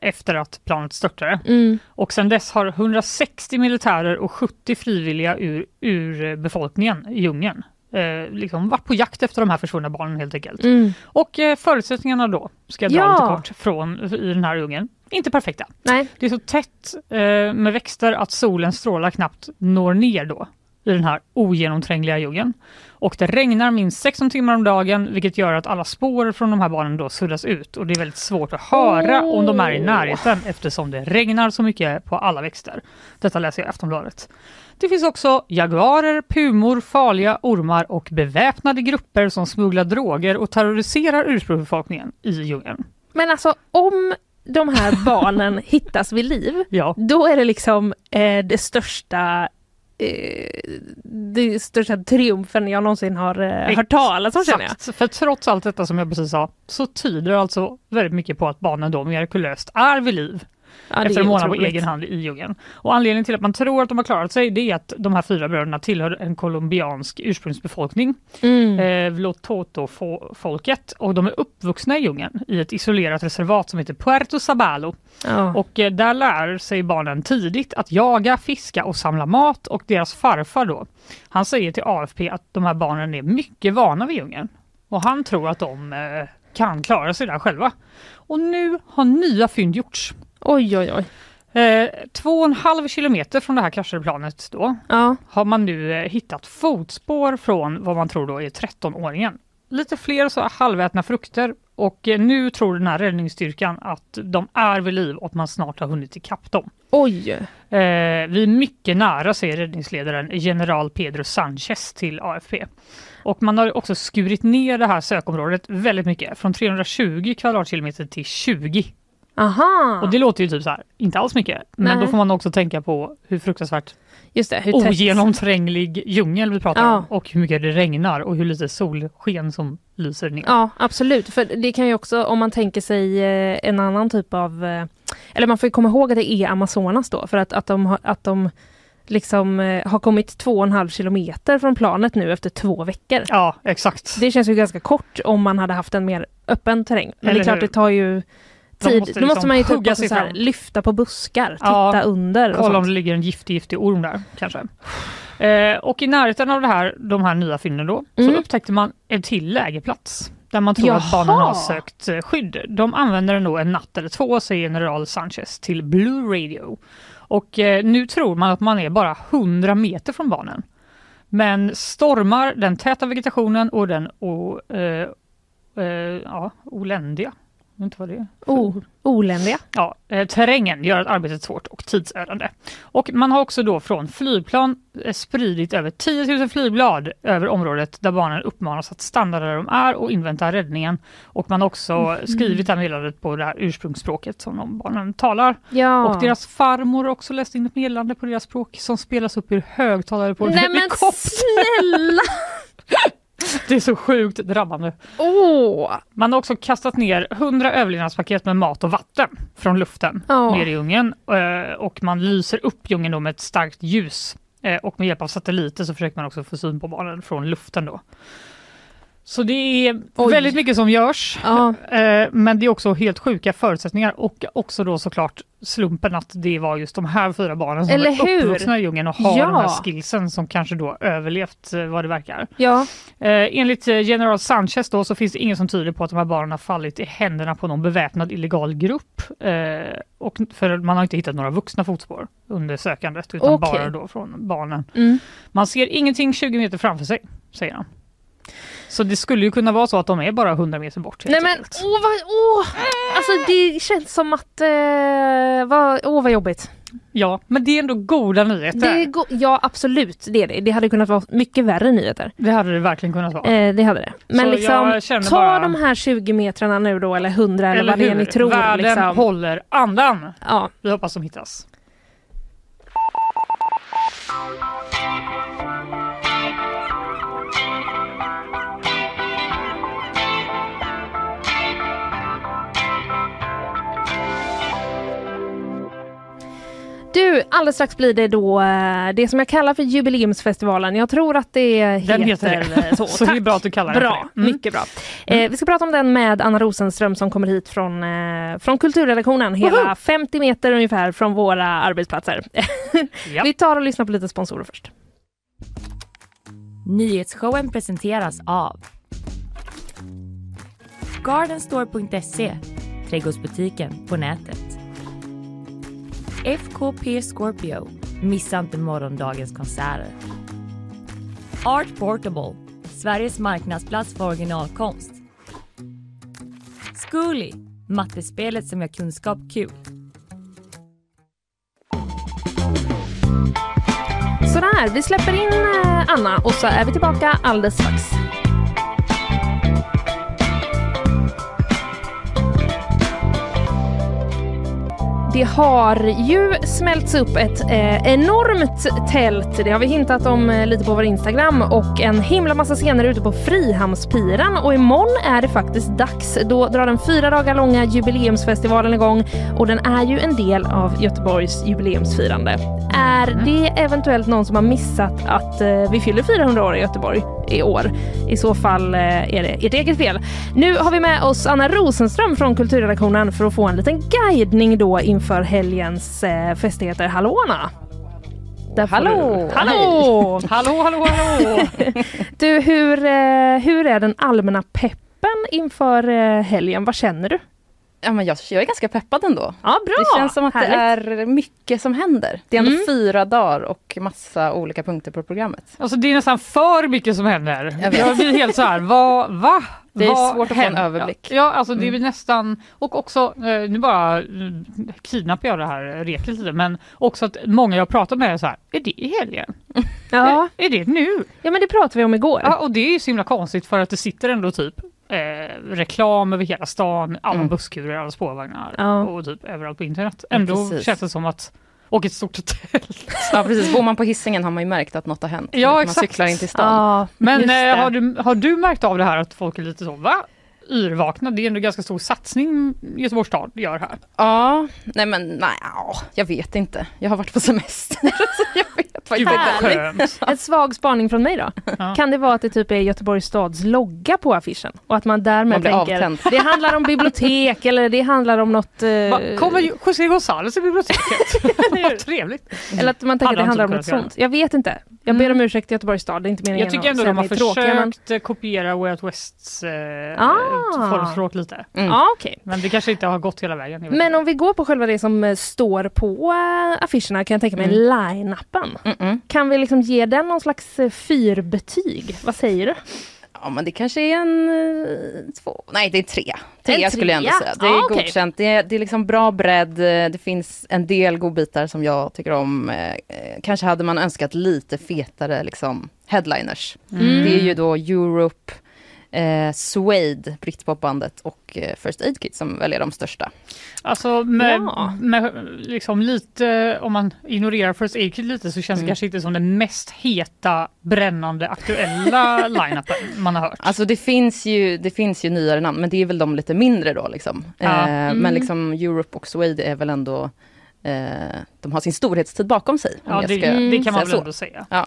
efter att planet störtade. Mm. Och sedan dess har 160 militärer och 70 frivilliga ur, ur befolkningen i djungeln eh, liksom varit på jakt efter de här försvunna barnen helt enkelt. Mm. Och eh, förutsättningarna då, ska jag dra Ja. lite kort, från, i den här djungeln, inte perfekta. Nej. Det är så tätt eh, med växter att solens strålar knappt når ner då i den här ogenomträngliga djungeln. Och det regnar minst 16 timmar om dagen vilket gör att alla spår från de här barnen då suddas ut och det är väldigt svårt att höra om de är i närheten eftersom det regnar så mycket på alla växter. Detta läser jag i Aftonbladet. Det finns också jaguarer, pumor, farliga ormar och beväpnade grupper som smugglar droger och terroriserar ursprungsbefolkningen i djungeln. Men alltså om de här barnen hittas vid liv, Ja. Då är det liksom eh, det största eh, det största triumfen jag någonsin har eh, hört talas om känner jag. Exakt, för trots allt detta som jag precis sa så tyder alltså väldigt mycket på att barnen då mirakulöst är vid liv Ja, det efter är en månad på otroligt. egen hand i djungeln. Och anledningen till att man tror att de har klarat sig det är att de här fyra bröderna tillhör en colombiansk ursprungsbefolkning, Mm. eh, Vlototo-folket, och de är uppvuxna i djungeln i ett isolerat reservat som heter Puerto Sabalo. Ja. Och eh, där lär sig barnen tidigt att jaga, fiska och samla mat och deras farfar då, han säger till AFP att de här barnen är mycket vana vid djungeln och han tror att de eh, kan klara sig där själva. Och nu har nya fynd gjorts. Oj, oj, oj. Eh, två och en halv kilometer från det här kraschade planet då Ja. har man nu eh, hittat fotspår från vad man tror då är 13-åringen. Lite fler så här halvätna frukter och eh, nu tror den här räddningsstyrkan att de är vid liv och att man snart har hunnit ikapp dem. Oj. Eh, vi är mycket nära, säger räddningsledaren general Pedro Sanchez till AFP. Och man har också skurit ner det här sökområdet väldigt mycket, från 320 kvadratkilometer till 20. Aha, Och det låter ju typ så här, inte alls mycket, men Nej. då får man också tänka på hur fruktansvärt just det. Hur tätt- ogenomtränglig djungel vi pratar Ja. om och hur mycket det regnar och hur lite solsken som lyser ner. Ja, absolut. För det kan ju också, om man tänker sig eh, en annan typ av... eh, Eller man får ju komma ihåg att det är Amazonas då, för att, att de, har- att de liksom eh, har kommit två och en halv kilometer från planet nu efter två veckor. Ja, exakt. Det känns ju ganska kort om man hade haft en mer öppen terräng. Men det Eller är klart, hur? det tar ju De tid. måste Då måste liksom man ju typ hugga också sig så här, fram. lyfta på buskar, Ja, titta under och Kolla om sånt. det ligger en giftig, giftig orm där kanske. Eh, och i närheten av det här, de här nya fynden då, Mm. så upptäckte man en till lägerplats där man tror att Jaha. barnen har sökt eh, skydd. De använder den då en natt eller två, säger general Sanchez till Blue Radio. Och eh, nu tror man att man är bara 100 meter från barnen. Men stormar, den täta vegetationen och den o, eh, eh, ja, oländiga, jag vet inte vad det är. O, Oh, oländiga. Ja, eh, terrängen gör att arbetet svårt och tidsödande. Och man har också då från flygplan eh, spridit över 10 000 flygblad över området där barnen uppmanas att stanna där de är och invänta räddningen. Och man har också Mhm. skrivit det här meddelandet på det här ursprungsspråket som de barnen talar. Ja. Och deras farmor har också läst in ett meddelande på deras språk som spelas upp ur högtalare på en Nej men helikopter. snälla! Det är så sjukt drabbande. Åh! Man har också kastat ner 100 överlevnadspaket med mat och vatten från luften Ja. ner i djungeln eh, och man lyser upp djungeln då med ett starkt ljus Eh, och med hjälp av satelliter så försöker man också få syn på barnen från luften då. Så det är Oj. väldigt mycket som görs Ja. eh, men det är också helt sjuka förutsättningar och också då såklart slumpen att det var just de här fyra barnen som Eller är hur? uppvuxna i djungeln och har de Ja. här skillsen som kanske då överlevt eh, vad det verkar. Ja. Eh, enligt eh, general Sanchez då, så finns det ingen som tyder på att de här barnen har fallit i händerna på någon beväpnad illegal grupp. Eh, och, för man har inte hittat några vuxna fotspår under sökandet utan Okej. bara då från barnen. Mm. Man ser ingenting 20 meter framför sig, säger han. Så det skulle ju kunna vara så att de är bara 100 meter bort. helt Nej men enkelt. åh vad, åh! Alltså det känns som att, eh, vad, åh vad jobbigt. Ja, men det är ändå goda nyheter. Det Det, går, ja absolut, det är det. Det hade kunnat vara mycket värre nyheter. hade det verkligen kunnat vara. Eh, det hade det. Men Så jag liksom, känner ta bara- de här 20 metrarna nu då, eller 100 eller, vad det är ni tror. Världen Liksom. håller andan. Ja. Vi hoppas de hittas. Du, alldeles strax blir det då eh, det som jag kallar för jubileumsfestivalen. Jag tror att det heter, Den heter, det. eh, så. Så, det är bra att du kallar den Bra, för det. Mm. mycket bra. Eh, vi ska prata om den med Anna Rosenström som kommer hit från, eh, från kulturredaktionen, hela 50 meter ungefär från våra arbetsplatser. Ja. vi tar och lyssnar på lite sponsorer först. Nyhetsshowen presenteras av Gardenstore.se Trädgårdsbutiken på nätet. FKP Scorpio. Missa inte morgondagens konserter. Art Portable. Sveriges marknadsplats för originalkonst. Zcooly. Mattespelet som gör kunskap kul. Sådär, vi släpper in eh, Anna och så är vi tillbaka alldeles strax. Det har ju smälts upp ett eh, enormt tält. Det har vi hintat om eh, lite på vår Instagram och en himla massa scener ute på Frihamnspiran. Och imorgon är det faktiskt dags. Då drar den fyra dagar långa jubileumsfestivalen igång och den är ju en del av Göteborgs jubileumsfirande. Är det eventuellt någon som har missat att eh, vi fyller 400 år i Göteborg i år? I så fall eh, är det ert eget fel. Nu har vi med oss Anna Rosenström från kulturredaktionen för att få en liten guidning då inför helgens eh, festligheter. Hallå Anna! Där får Hallå! Du. Hallå! Hallå, hallå, hallå! Du, hur, eh, hur är den allmänna peppen inför eh, helgen? Vad känner du? Ja, men jag, jag är ganska peppad ändå. Ja, bra! det känns som att härligt. det är mycket som händer. Det är ändå Mm. fyra dagar och massa olika punkter på programmet. Alltså det är nästan för mycket som händer. Jag Jag, vet. blir helt så här, vad, va? Det är Vad svårt att få en händer? överblick. Mm. Ja, alltså det är väl nästan, och också, eh, nu bara eh, kidnappar jag det här eh, reket lite, men också att många jag pratar med är så här, är det i helgen? Ja. Är det nu? ja, men det pratade vi om igår. Ja, och det är ju så himla konstigt för att det sitter ändå typ eh, reklam över hela stan, alla Mm. busskurer, alla spårvagnar Ja. och typ överallt på internet. Ändå precis. känns det som att, och ett stort hotell. Ja, precis. Bor man på hissingen har man ju märkt att något har hänt. Ja, man exakt. cyklar in till stan. Ja, Men just det. eh, har, du, har du märkt av det här att folk är lite så, va? Yrvakna, det är ändå ganska stor satsning Göteborgs stad gör här. Ja, nej men nej, ja, jag vet inte. Jag har varit på semester. så jag vet faktiskt Gud inte. vad skönt. En svag spaning från mig då. Ja. Kan det vara att det typ är Göteborgs stads logga på affischen? Och att man därmed Man blir tänker avtänd. det handlar om bibliotek eller det handlar om något... eh, Va, Kommer ju- José Gonzales i biblioteket? Vad trevligt. eller att man tänker Hade det han handlar typ om något kunnat sånt. Jag vet inte. Jag ber om ursäkt till Göteborgs stad, det är inte meningen Mm. Jag tycker ändå att de säga mig har tråkiga, Mm. men- försökt eh, kopiera Way Out Wests eh, Ah. formspråk lite. Ja, okej. Men det kanske inte har gått hela vägen. jag vet Men inte. om vi går på själva det som eh, står på eh, affischerna kan jag tänka mig Mm. line-upen. Mm-mm. Kan vi liksom ge den någon slags eh, fyrbetyg? Vad säger du? Ja, men det kanske är en eh, två, nej det är tre. Trea En skulle jag ändå trea? säga. Det är Ah, okej. godkänt. Det är, det är liksom bra bredd. eh, Det finns en del godbitar som jag tycker om. Eh, eh, Kanske hade man önskat lite fetare liksom headliners. Mm. Det är ju då Europe, eh, Suede, Britpopbandet och eh, First Aid Kit som väl är de största. Alltså med, Ja. med liksom lite, om man ignorerar First Aid Kit lite så känns Mm. det kanske inte som den mest heta, brännande, aktuella line-upen man har hört. Alltså det finns, ju, det finns ju nyare namn, men det är väl de lite mindre då liksom. Ja. Mm. Eh, Men liksom Europe och Suede är väl ändå, eh, de har sin storhetstid bakom sig. om Ja, jag det, ska det kan man säga väl så. ändå säga. Ja.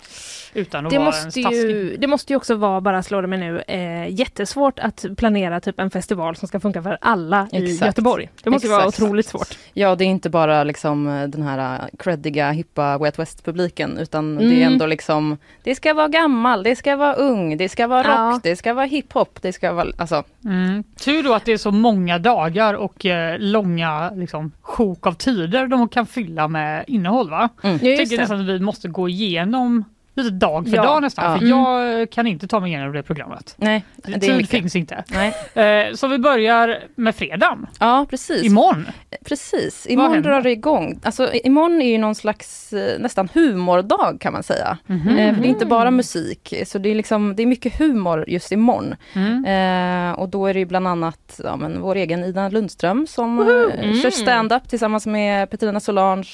Utan att Det vara måste, en taskig. ju, det måste ju också vara, bara slå det mig nu, eh, jättesvårt att planera typ en festival som ska funka för alla i Exakt. Göteborg. Det måste ju vara Exakt. otroligt svårt. Ja, det är inte bara liksom eh, den här eh, creddiga, hippa Wet West-publiken, utan Mm. det är ändå liksom, det ska vara gammal, det ska vara ung, det ska vara rock, Ja. det ska vara hiphop, det ska vara, alltså, Mm. Tur då att det är så många dagar och eh, långa liksom, sjok av tider de kan fylla med innehåll. Va? mm. Ja, Jag just tänker det. nästan att vi måste gå igenom lite dag för Ja. dag nästan. Ja. För jag eh, kan inte ta mig igenom det programmet. nej, det är Tid mycket. finns inte. Nej. Eh, så vi börjar med fredagen, Ja, precis. imorgon. Precis, imorgon händer? drar det igång. Alltså, i- imorgon är ju någon slags eh, nästan humordag kan man säga. Mhm. Eh, för det är inte bara musik, så det är, liksom, det är mycket humor just imorgon. Mm. Eh, och då är det ju bland annat ja, men vår egen Ida Lundström som eh, Mm. kör stand-up tillsammans med Petrina Solange,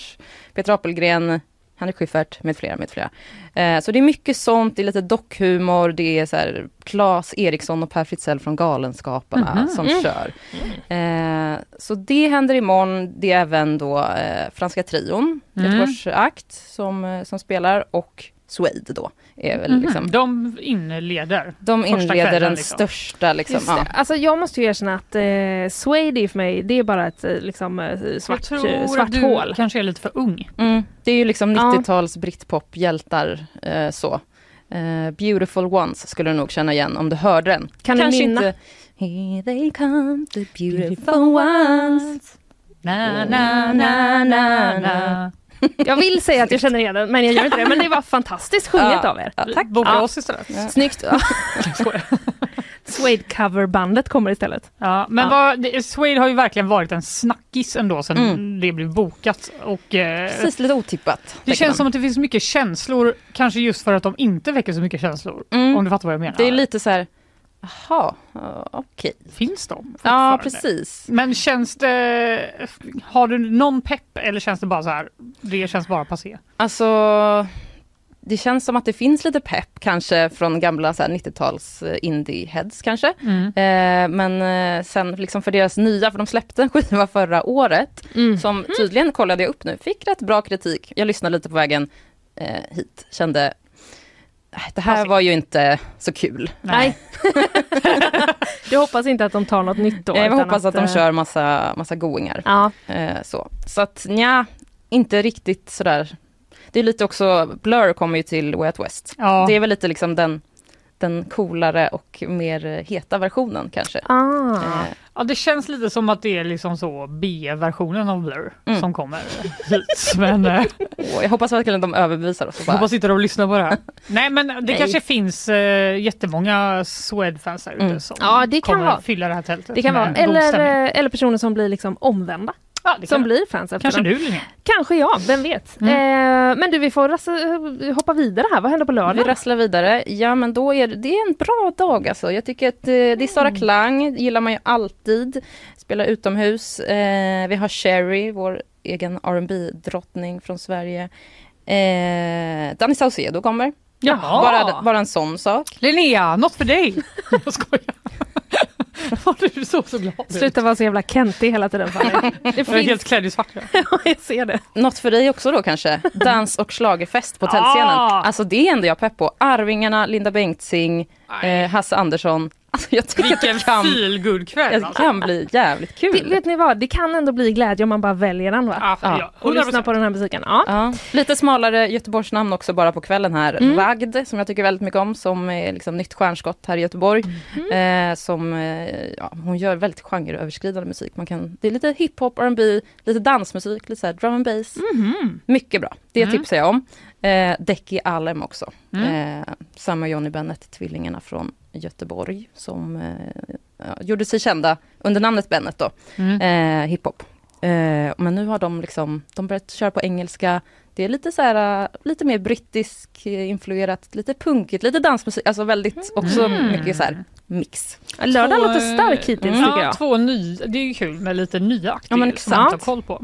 Peter Apelgren, Henrik Schyffert med flera, med flera. Eh, så det är mycket sånt, det är lite dockhumor, det är så här Claes Eriksson och Per Fritzell från Galenskaparna som kör. Eh, så det händer imorgon. Det är även då eh, Franska Trion, Mm. Göteborgs akt som, eh, som spelar och Suede då. Är väl liksom, De inleder. de Mhm. Första inleder kvällen, den liksom. största liksom. Just Ja. det. Alltså jag måste ju erkänna att eh, Suede är för mig, det är bara ett eh, liksom, eh, svart, jag tror eh, svart du hål. kanske är lite för ung. Mm. Det är ju liksom Ja. 90-tals britpop-hjältar eh, så. Eh, Beautiful Ones skulle du nog känna igen om du hörde den. Kan du nynna? Here they come, the beautiful ones. Na, na, na, na, na. Jag vill säga att jag känner igen den, men jag gör inte det. Men det var fantastiskt sjunget Ja. av er. Ja, tack. Boka Ja. oss istället. Snyggt. Suede coverbandet kommer istället. Ja, men Ja. Vad, det- Suede har ju verkligen varit en snackis ändå sedan Mm. det blev bokat. Och, eh, Precis, lite otippat. det tänker man. känns som att det finns mycket känslor, kanske just för att de inte väcker så mycket känslor. Mm. Om du fattar vad jag menar. Det är lite så här, jaha, ja, okej. Finns de Ja, fortfarande? precis. Men känns det... Har du någon pepp eller känns det bara så här? Det känns bara passé. Alltså, det känns som att det finns lite pepp kanske från gamla så här 90-tals eh, indie-heads kanske. Mm. Eh, men eh, sen liksom för deras nya, för de släppte en skiva förra året Mm. som tydligen, kollade jag upp nu, fick rätt bra kritik. Jag lyssnade lite på vägen eh, hit, kände "Äh, det här Alltså- var ju inte så kul. Nej. jag hoppas inte att de tar något nytt då. Jag utan hoppas att de eh, kör massa, massa goingar. Ja, Eh, så. så att nja, inte riktigt sådär. Det är lite också, Blur kommer ju till Way Out West. Ja. Det är väl lite liksom den, den coolare och mer eh, heta versionen kanske. ah. Eh, Ja, det känns lite som att det är liksom så B-versionen av Blur Mm. som kommer hit. Men eh, och jag hoppas verkligen att de överbevisar oss. Och jag bara, hoppas inte de lyssnar på det här. Nej, men det Nej. kanske finns eh, jättemånga Swed-fans där ute Mm. som Ja, det kan kommer vara. fylla det här tältet Det kan med vara. eh, god stämning. Eller, eh, eller personer som blir liksom omvända. Ja, det som kan, blir fans efter kanske den. du Linnea? Kanske jag, vem vet. Eh, men du, vi får rasa- hoppa vidare här. Vad händer på Vi lördag? rasslar vidare. Ja, men då är det, det är en bra dag alltså. Jag tycker att eh, det är Sara Mm. Klang, gillar man ju alltid. Spelar utomhus. Eh, vi har Sherry, vår egen rb drottning från Sverige. Eh, Danny Saucedo kommer. Jaha. Bara, bara en sån sak. Linnea, något för dig! Jag skojar. Var du så, så glad ut? Sluta vara så jävla kentig hela tiden. Fanny. Det Jag är finns, helt klädd i svart. ja. jag ser det. Något för dig också då kanske? Dans och schlagerfest på tältscenen. Ah. Alltså det är ändå jag pepp på. Arvingarna, Linda Bengtzing, eh, Hasse Andersson. Alltså jag tycker att Vilken det kan, feelgood kväll det alltså. kan bli jävligt kul. det. Vet ni vad, det kan ändå bli glädje om man bara väljer den va? Ja, för- ja, Och 100%. lyssnar på den här musiken. Ja. Ja. Lite smalare Göteborgsnamn också bara på kvällen här. Vagd, som jag tycker väldigt mycket om, som är liksom nytt stjärnskott här i Göteborg. Eh, som, eh, ja, hon gör väldigt genreöverskridande musik. Man kan, det är lite hiphop, R&B, lite dansmusik, lite så här drum and bass. Mycket bra, det tipsar jag om. Eh, Decky Alem också. Eh, samma Johnny Bennett, tvillingarna från Göteborg, som eh, ja, gjorde sig kända under namnet Bennett då, eh, hiphop. Eh, men nu har de liksom, de börjat köra på engelska. Det är lite så här, eh, lite mer brittisk eh, influerat, lite punkigt, lite dansmusik, alltså väldigt också mycket så här mix. Lördagen Två, låter stark hittills ja, tycker jag. Två nya, det är ju kul med lite nya aktier Ja, men som man inte har exakt. koll på.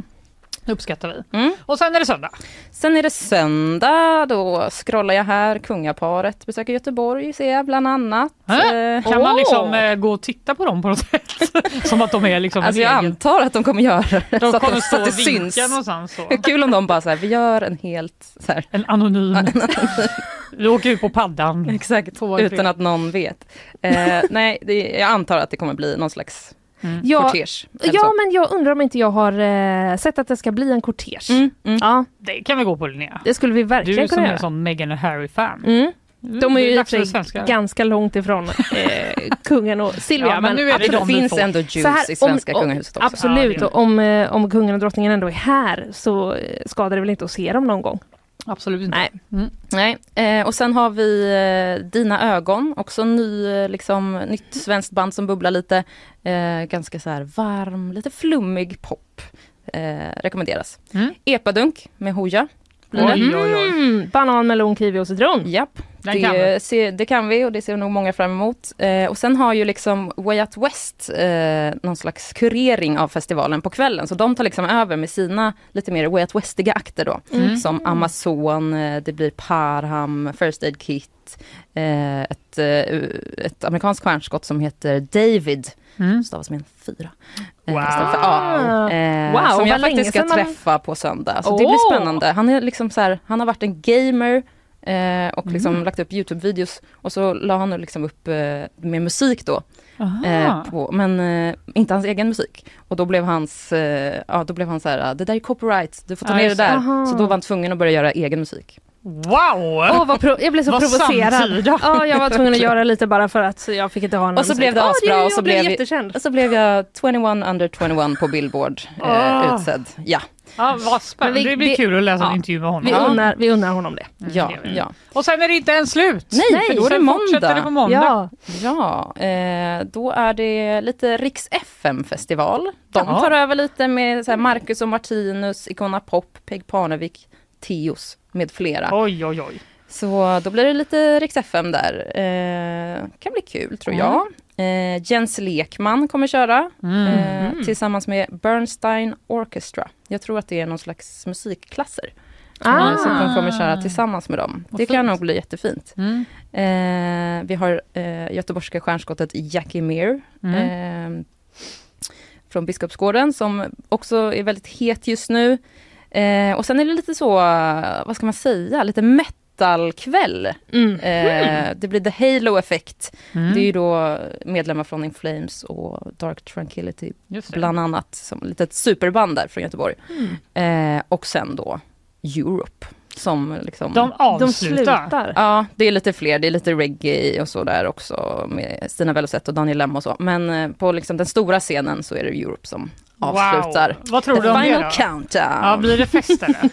Det uppskattar vi. Mm. Och sen är det söndag. Sen är det söndag, då scrollar jag här, kungaparet besöker Göteborg ser jag bland annat. Äh, Eh, Kan man åh! liksom eh, gå och titta på dem på något sätt? Som att de är liksom Alltså jag en egen... antar att de kommer göra det, De så, kommer att, stå så att och det syns. vinka någonstans. Så. Kul om de bara så här, vi gör en helt så här, En anonym. Vi åker ut på paddan. Exakt, Två, utan tre. att någon vet. Eh, nej, det, jag antar att det kommer bli någon slags Ja, kortege. eller ja, så. men jag undrar om inte jag har eh, sett att det ska bli en kortege. Mm, mm. Ja, Det kan vi gå på Linnea. det skulle vi Du verkligen som kunna är en göra. sån Meghan och Harry-fan. Mm. De är Det ju i och dags för för sig svenskar. ganska långt ifrån eh, kungen och Silvia. Ja, men nu är Att det det de vi finns får. ändå Så juice här, i svenska om- kungahuset också. Absolut, Ja, det- och om, eh, om kungen och drottningen ändå är här så eh, skadar det väl inte att se dem någon gång. Absolut inte. Nej. Nej, eh, och sen har vi eh, Dina ögon, också ny, eh, liksom, nytt svenskt band som bubblar lite. Eh, ganska så här varm, lite flummig pop. Eh, rekommenderas. Mm. Epadunk med Hooja. blir det. Oj, oj, oj. Mm, banan, melon, kiwi och citron. Japp, Den det kan vi. ser, det kan vi och det ser nog många fram emot. Eh, och sen har ju liksom Way Out West eh, någon slags kurering av festivalen på kvällen. Så de tar liksom över med sina lite mer Way Out Westiga akter då. Mm. Som Amazon, eh, det blir Parham, First Aid Kit, eh, ett, eh, ett amerikanskt stjärnskott som heter David. Mm. Stavas med en fyra. Wow. Eh, istället för A. Eh, Wow, som vad jag länge faktiskt ska sedan man- träffa på söndag. Så det Åh! blir spännande. Han, är liksom så här, han har varit en gamer eh, och liksom lagt upp Youtube-videos och så la han nu liksom upp eh, med musik då. Eh, Aha. på, men eh, inte hans egen musik. Och då blev, hans, eh, ja, då blev han så här, "Ah, det där är copyright, du får ta Ja, ner det just det. där. Aha. Så då var han tvungen att börja göra egen musik. Wow! Åh, vad pro- jag blev så Vad provocerad. samtida. Ja, jag var tvungen att göra lite bara för att jag fick inte ha någon Och så musik. blev det Åh, asbra jag- och så jag blev blev vi- jättekänd. Och så blev jag 21 under 21 på Billboard eh, Ah. utsedd. Ja, Ja, vad spännande. Men vi- det blir vi- kul att läsa en ja. intervju med honom. Vi unnar, vi unnar honom det. ja, det är vi. ja. Och sen är det inte ens slut. Nej, för då är det sen fortsätter måndag. det på måndag. Ja. Ja, eh, då är det lite Riks FM-festival. De Ja. tar över lite med så här Marcus och Martinus, Icona Pop, Peg Parnevik, Teos med flera. Oj, oj, oj. Så då blir det lite Riks FM där. Eh, kan bli kul tror Mm. jag. Eh, Jens Lekman kommer köra Mm. eh, tillsammans med Bernstein Orchestra. Jag tror att det är någon slags musikklasser. Ah. Eh, som de kommer köra tillsammans med dem. det kan fint. nog bli jättefint. Mm. Eh, vi har eh, göteborgska stjärnskottet Jackie Meir mm, eh, från Biskopsgården som också är väldigt het just nu. Eh, och sen är det lite så, eh, vad ska man säga, lite metalkväll. Mm. Eh, det blir The Halo Effect. Mm. Det är ju då medlemmar från In Flames och Dark Tranquility mm. Just det. bland annat, som ett litet superband där från Göteborg. Mm. Eh, och sen då Europe som liksom... De De avslutar. slutar. Ja, det är lite fler. Det är lite reggae och så där också med Stina Velosette och Daniel Lem och så. Men eh, på liksom den stora scenen så är det Europe som avslutar. Wow. Vad tror The du om det final då? countdown. Ja, blir det fest eller?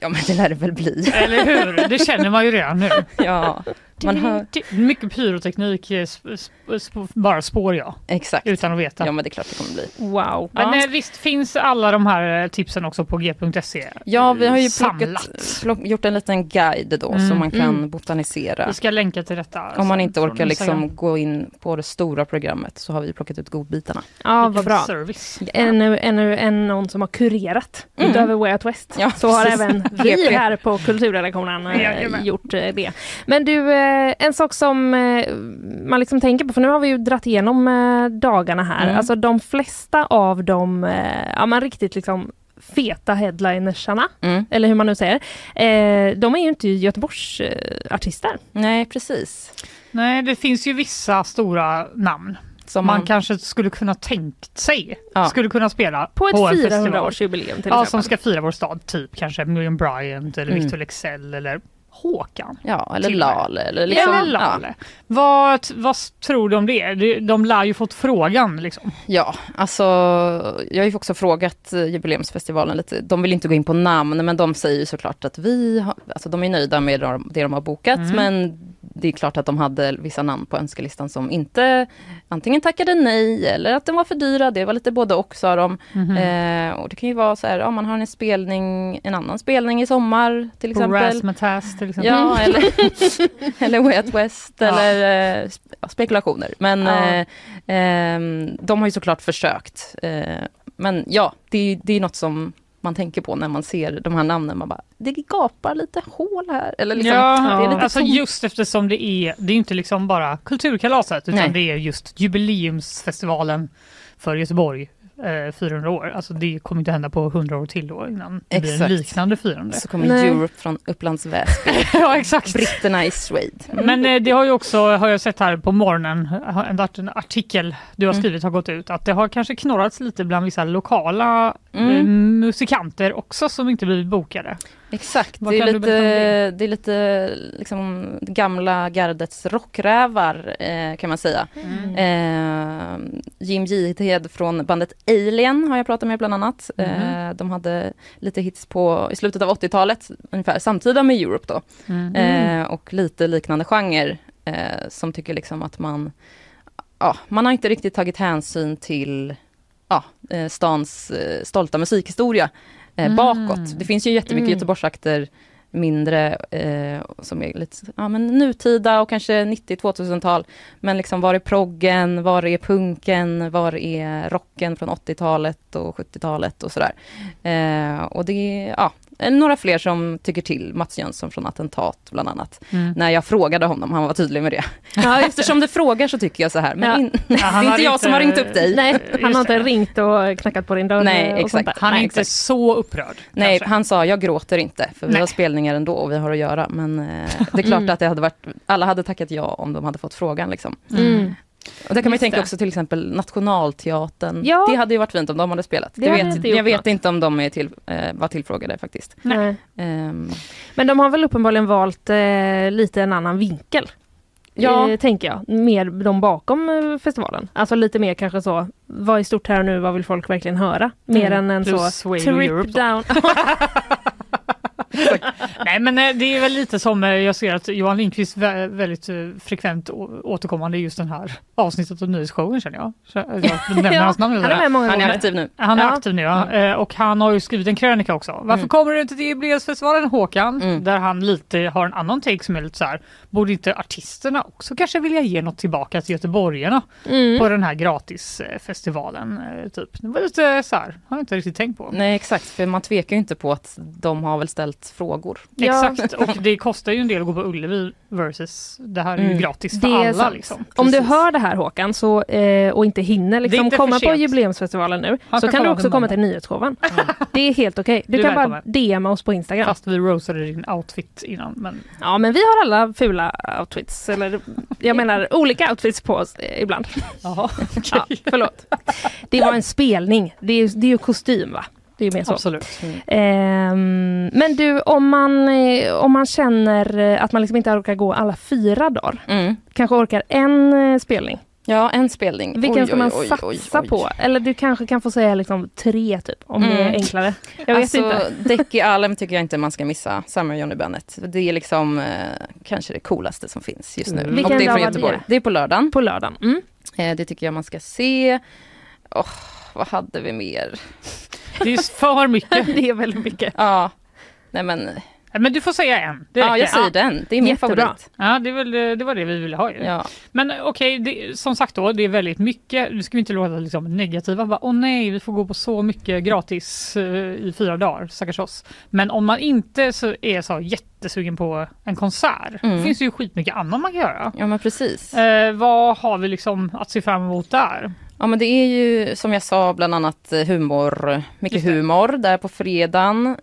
Ja, men det lär det väl bli. eller hur? Det känner man ju redan nu. ja. Man hör, Mycket pyroteknik, eh, sp- sp- sp- bara spår jag, exakt. utan att veta. Ja men det är klart det kommer bli. Wow. Men Ja. eh, visst finns alla de här eh, tipsen också på g.se. Ja vi har ju plockat, Samlat. plock, gjort en liten guide då så Mm. man kan Mm. botanisera. Vi ska länka till detta. Om man inte från orkar liksom Instagram. gå in på det stora programmet så har vi plockat ut godbitarna. Eh, ja, Vilken vad bra. Service. Ännu, ännu, ännu någon som har kurerat Mm. utöver Way Out West. Ja, så har precis. även vi GP. här på Kulturredaktionen eh, Jajamän. gjort eh, det. Men du, eh, en sak som eh, man liksom tänker på, för nu har vi ju dratt igenom eh, dagarna här. Mm. Alltså de flesta av de eh, ja, man riktigt liksom feta headlinersarna, Mm. eller hur man nu säger, eh, de är ju inte Göteborgs eh, artister. Nej precis. Nej, det finns ju vissa stora namn. Som man kanske skulle kunna tänkt sig Ja. skulle kunna spela På ett en festival. 400-årsjubileum till Ja, exempel. som ska fira vår stad, typ kanske Miriam Bryant eller Mm. Victor Leksell eller Håkan. Ja eller Till och med. Lale eller liksom. eller Lalle. Vad, vad tror du om det? De- De lär ju fått frågan liksom. Ja, alltså jag har ju också frågat eh, jubileumsfestivalen lite. De vill inte gå in på namn, men de säger ju såklart att vi har, alltså de är nöjda med de- det de har bokat, men det är klart att de hade vissa namn på önskelistan som inte antingen tackade nej eller att de var för dyra. Det var lite både och sa de. Eh, och det kan ju vara så här, ja, man har en spelning, en annan spelning i sommar till exempel. Rasmataz till exempel. Ja, eller, Mm. eller Way Out West eller eh, sp- ja, spekulationer. Men Ja. eh, ehm, de har ju såklart försökt. Eh, men ja, det, är- det är något som man tänker på när man ser de här namnen. Man bara, det gapar lite hål här. Eller liksom, ja, det är lite alltså tomt. just eftersom det är, det är inte liksom bara kulturkalaset utan Nej. det är just jubileumsfestivalen för Göteborg eh, 400 år. Alltså det kommer inte hända på 100 år till då innan det blir en Exakt. liknande firande. Så kommer Nej. Europe från Upplands Väsby, ja exakt. britterna i Swede. Mm. Men eh, det har ju också, har jag sett här på morgonen, har en art- en artikel du har Mm. skrivit har gått ut, att det har kanske knorrats lite bland vissa lokala Mm. eh, musikanter också som inte blivit bokade. Exakt, Vad det är, kan du lite, berätta om det? det? är lite liksom, gamla gardets rockrävar eh, kan man säga. Mm. Eh, Jim Jihed från bandet Alien har jag pratat med bland annat. Mm. Eh, de hade lite hits på, i slutet av 80-talet, ungefär samtida med Europe då. Mm. Eh, och lite liknande genre eh, som tycker liksom att man, ja, man har inte riktigt tagit hänsyn till ja, eh, stans eh, stolta musikhistoria eh, Mm. bakåt. Det finns ju jättemycket Mm. Göteborgsakter mindre eh, som är lite ja, men nutida och kanske 90-2000-tal. Men liksom var är proggen, var är punken, var är rocken från 80-talet och 70-talet och sådär. Eh, och det är ja, eh, några fler som tycker till, Mats Jönsson från Attentat bland annat. Mm. När jag frågade honom, han var tydlig med det. Ja, just det. Eftersom du frågar så tycker jag så här, men Ja. in, han det är har inte jag inte- som har ringt upp dig. Nej, han Just har inte det. ringt och knackat på din dörr. Nej, och sånt exakt. där. Han är Nej, inte exakt. så upprörd. Nej, kanske. han sa jag gråter inte för vi Nej. har spelningar ändå och vi har att göra. Men eh, det är klart Mm. att det hade varit, alla hade tackat ja om de hade fått frågan. Liksom. Mm. Och där kan man ju Just tänka det. också till exempel Nationalteatern. Ja. Det hade ju varit fint om de hade spelat. Det jag hade inte vet, gjort jag vet något. inte om de är till, eh, var tillfrågade faktiskt. Nej. Eh, Ehm, Men de har väl uppenbarligen valt eh, lite en annan vinkel. Ja. Eh, tänker jag. Mer de bakom eh, festivalen. Alltså lite mer kanske så, vad är stort här och nu, vad vill folk verkligen höra? Mm. Mer än en Mm. Plus så Sway to Europe trip då. down. Nej men eh, det är väl lite som eh, jag ser att Johan Lindqvist vä- väldigt eh, frekvent å- återkommande i just den här avsnittet av nyhetsshowen känner jag. Så, eh, jag nämner Ja, hans namn eller Han är med många han är gånger. aktiv nu. Han är Ja. aktiv nu ja. Eh, och han har ju skrivit en krönika också. Varför Mm. kommer du inte till jubileumsfestivalen Håkan? Mm. Där han lite har en annan take som är lite så här. Borde inte artisterna också kanske vilja ge något tillbaka till göteborgarna Mm. på den här gratisfestivalen? eh, Typ. Det var lite så här, har jag inte riktigt tänkt på. Nej exakt, för man tvekar ju inte på att de har väl ställt frågor. Ja. Exakt, och det kostar ju en del att gå på Ullevi versus det här är ju Mm. gratis Det för är alla. sant. Liksom. Om du Precis. hör det här Håkan så, eh, och inte hinner liksom Det är inte komma för sent. på jubileumsfestivalen nu Han så kan kan du komma också på komma måndag. till nyhetsshowen. Det är helt okej. Du, Du är kan bara välkommen. DMa oss på Instagram. Fast vi rosade din outfit innan. Men Ja men vi har alla fula outfits, eller jag menar olika outfits på oss eh, ibland. Jaha, Ja, förlåt. Det var en spelning, det är, det är ju kostym va? Det är ju mer så. absolut. Ehm, men du, om man, eh, om man känner eh, att man liksom inte orkar gå alla fyra dagar, Mm. kanske orkar en eh, spelning. Ja, en spelning. Vilken Oj, ska oj, man oj, oj, satsa oj. på? Eller du kanske kan få säga liksom tre typ, om det är Mm. enklare. Jag vet alltså, inte. Decky Alm tycker jag inte man ska missa, Summer Johnny Bennett. Det är liksom eh, kanske det coolaste som finns just nu. Mm. Vilken Och det är dag från var Göteborg. det? Det? är på lördagen. På lördagen. Mm. Eh, det tycker jag man ska se. Åh, vad hade vi mer? Det är för mycket. Det är väldigt mycket. Ja, nej men, Men du får säga en. Det ja jag räcker. säger den. Det är min Jättebra. favorit. Ja, det, är väl, det var det vi ville ha ju. Ja. Men eh, okej, det- som sagt då, det är väldigt mycket. Nu ska vi inte låta liksom, negativa. Bara, Åh nej, vi får gå på så mycket gratis eh, i fyra dagar, stackars oss. Men om man inte så är så jättesugen på en konsert, Mm. finns det ju skitmycket annat man kan göra. ja, men precis. Eh, vad har vi liksom att se fram emot där? Ja men det är ju som jag sa bland annat eh, humor, mycket Just det. humor där på fredagen.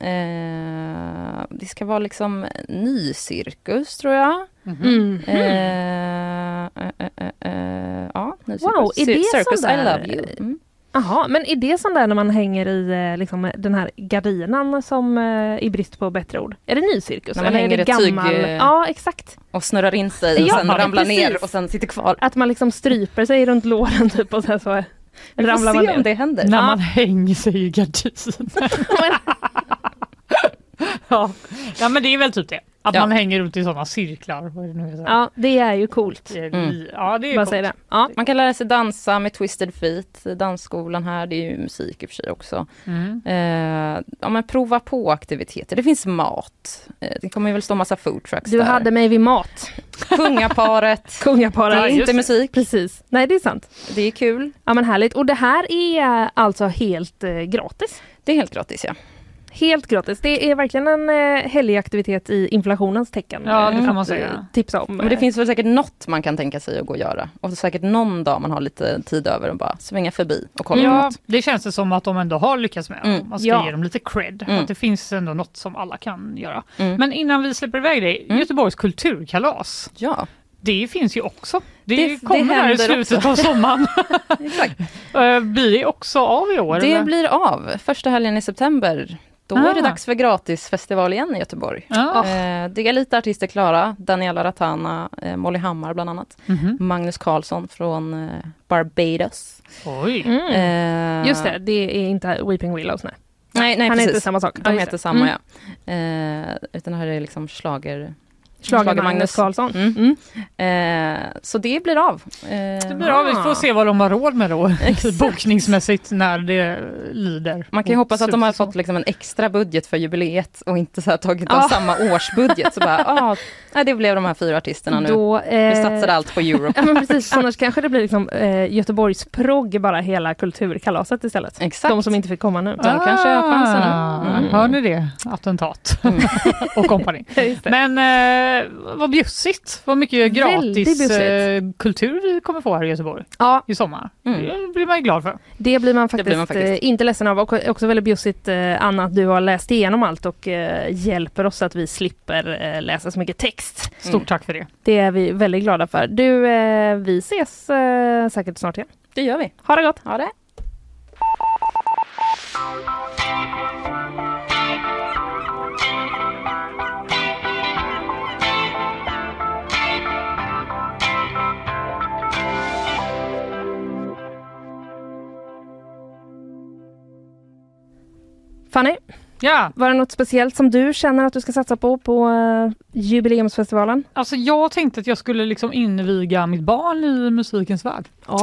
Eh, det ska vara liksom ny cirkus tror jag. Mm. Eh, eh, eh, eh, eh, ja, ny cirkus. Wow, är Cir- det circus sån där- I love you. Mm. Jaha, men är det sån där när man hänger i eh, liksom, den här gardinan som eh, i brist på bättre ord? Är det ny cirkus? När man eller är hänger det ett tyg, gammal? eh, Ja, exakt. Och snurrar in sig och Ja, sen ramlar precis. ner och sen sitter kvar. Att man liksom stryper sig runt låren typ och sen så Vi får ramlar se man ner. om det händer. När Ja. man hänger sig i gardin. ja. ja, men det är väl typ det. Att Ja. man hänger runt i sådana cirklar. Vad är det nu heter? Ja, det är ju coolt. Det är- Mm. Ja, det är Bara coolt. säger det. Ja. Man kan lära sig dansa med Twisted Feet, i dansskolan här, det är ju musik i och för sig också. Mm. Eh, ja men prova på aktiviteter, det finns mat. Eh, det kommer ju väl stå massa food trucks Du där. hade mig vid mat. Kungaparet. Kungaparet. Det är inte det. musik, Precis. Nej, det är sant. det är kul. Ja, men härligt. Och det här är eh, alltså helt eh, gratis. Det är helt gratis ja. Helt gratis. Det är verkligen en eh, helgaktivitet aktivitet i inflationens tecken. Ja, det eh, att, får man eh, säga. Tipsa om. Men det finns väl säkert något man kan tänka sig att gå och göra. Och säkert någon dag man har lite tid över och bara svänga förbi och kolla på Ja, något. det känns det som att de ändå har lyckats med. Mm. Man ska Ja. ge dem lite cred. Mm. Att det finns ändå något som alla kan göra. Mm. Men innan vi släpper iväg dig, Mm. Göteborgs kulturkalas. Ja, Det finns ju också. Det, Det- det kommer här i händer slutet av sommaren. exakt. Eh, Blir det också av i år? Det eller? blir av första helgen i september. Då är det Ah. dags för gratisfestival igen i Göteborg. Ja. Eh, det är lite artister klara. Daniela Ratana, eh, Molly Hammar bland annat. Mhm. Magnus Karlsson från eh, Barbados. Oj. Mm. Eh, Just det, det är inte Weeping Willows. Nej. Nej, nej Han precis. heter samma sak. De Ja, just heter det. samma Mm. ja. Eh, utan här är liksom schlager... Schlager Magnus Karlsson. Mm. Mm. Eh, så det blir av. Eh, Det blir av. Vi får se vad de har råd med då bokningsmässigt när det lider. Man kan ju Och hoppas att de har slutet av fått liksom en extra budget för jubileet och inte så här tagit Ja. av samma årsbudget. Så bara, ah, nej, det blev de här fyra artisterna nu. Då, eh, Mm. Vi satsade allt på Europe. Ja, men precis. Annars kanske det blir liksom, eh, Göteborgs progg bara hela kulturkalaset istället. Exakt. De som inte fick komma nu. Ja. De kanske har chansen nu. Ah, Mm. Hör ni det? Attentat Mm. och kompani. Men eh, vad bjussigt. Vad mycket Väldigt gratis bjussigt. eh, kultur vi kommer få här i Göteborg Ja, i sommar. Mm. Det blir man ju glad för. det blir man faktiskt, blir man faktiskt. eh, inte ledsen av. Och också väldigt bjussigt eh, Anna att du har läst igenom allt och eh, hjälper oss att vi slipper eh, läsa så mycket text. Stort Mm. tack för det. Det är vi väldigt glada för. Du, eh, vi ses eh, säkert snart igen. Det gör vi. Ha det gott! Ha det. Fanny, Ja, var det något speciellt som du känner att du ska satsa på på eh, jubileumsfestivalen? alltså jag tänkte att jag skulle liksom inviga mitt barn i musikens värld. Ah,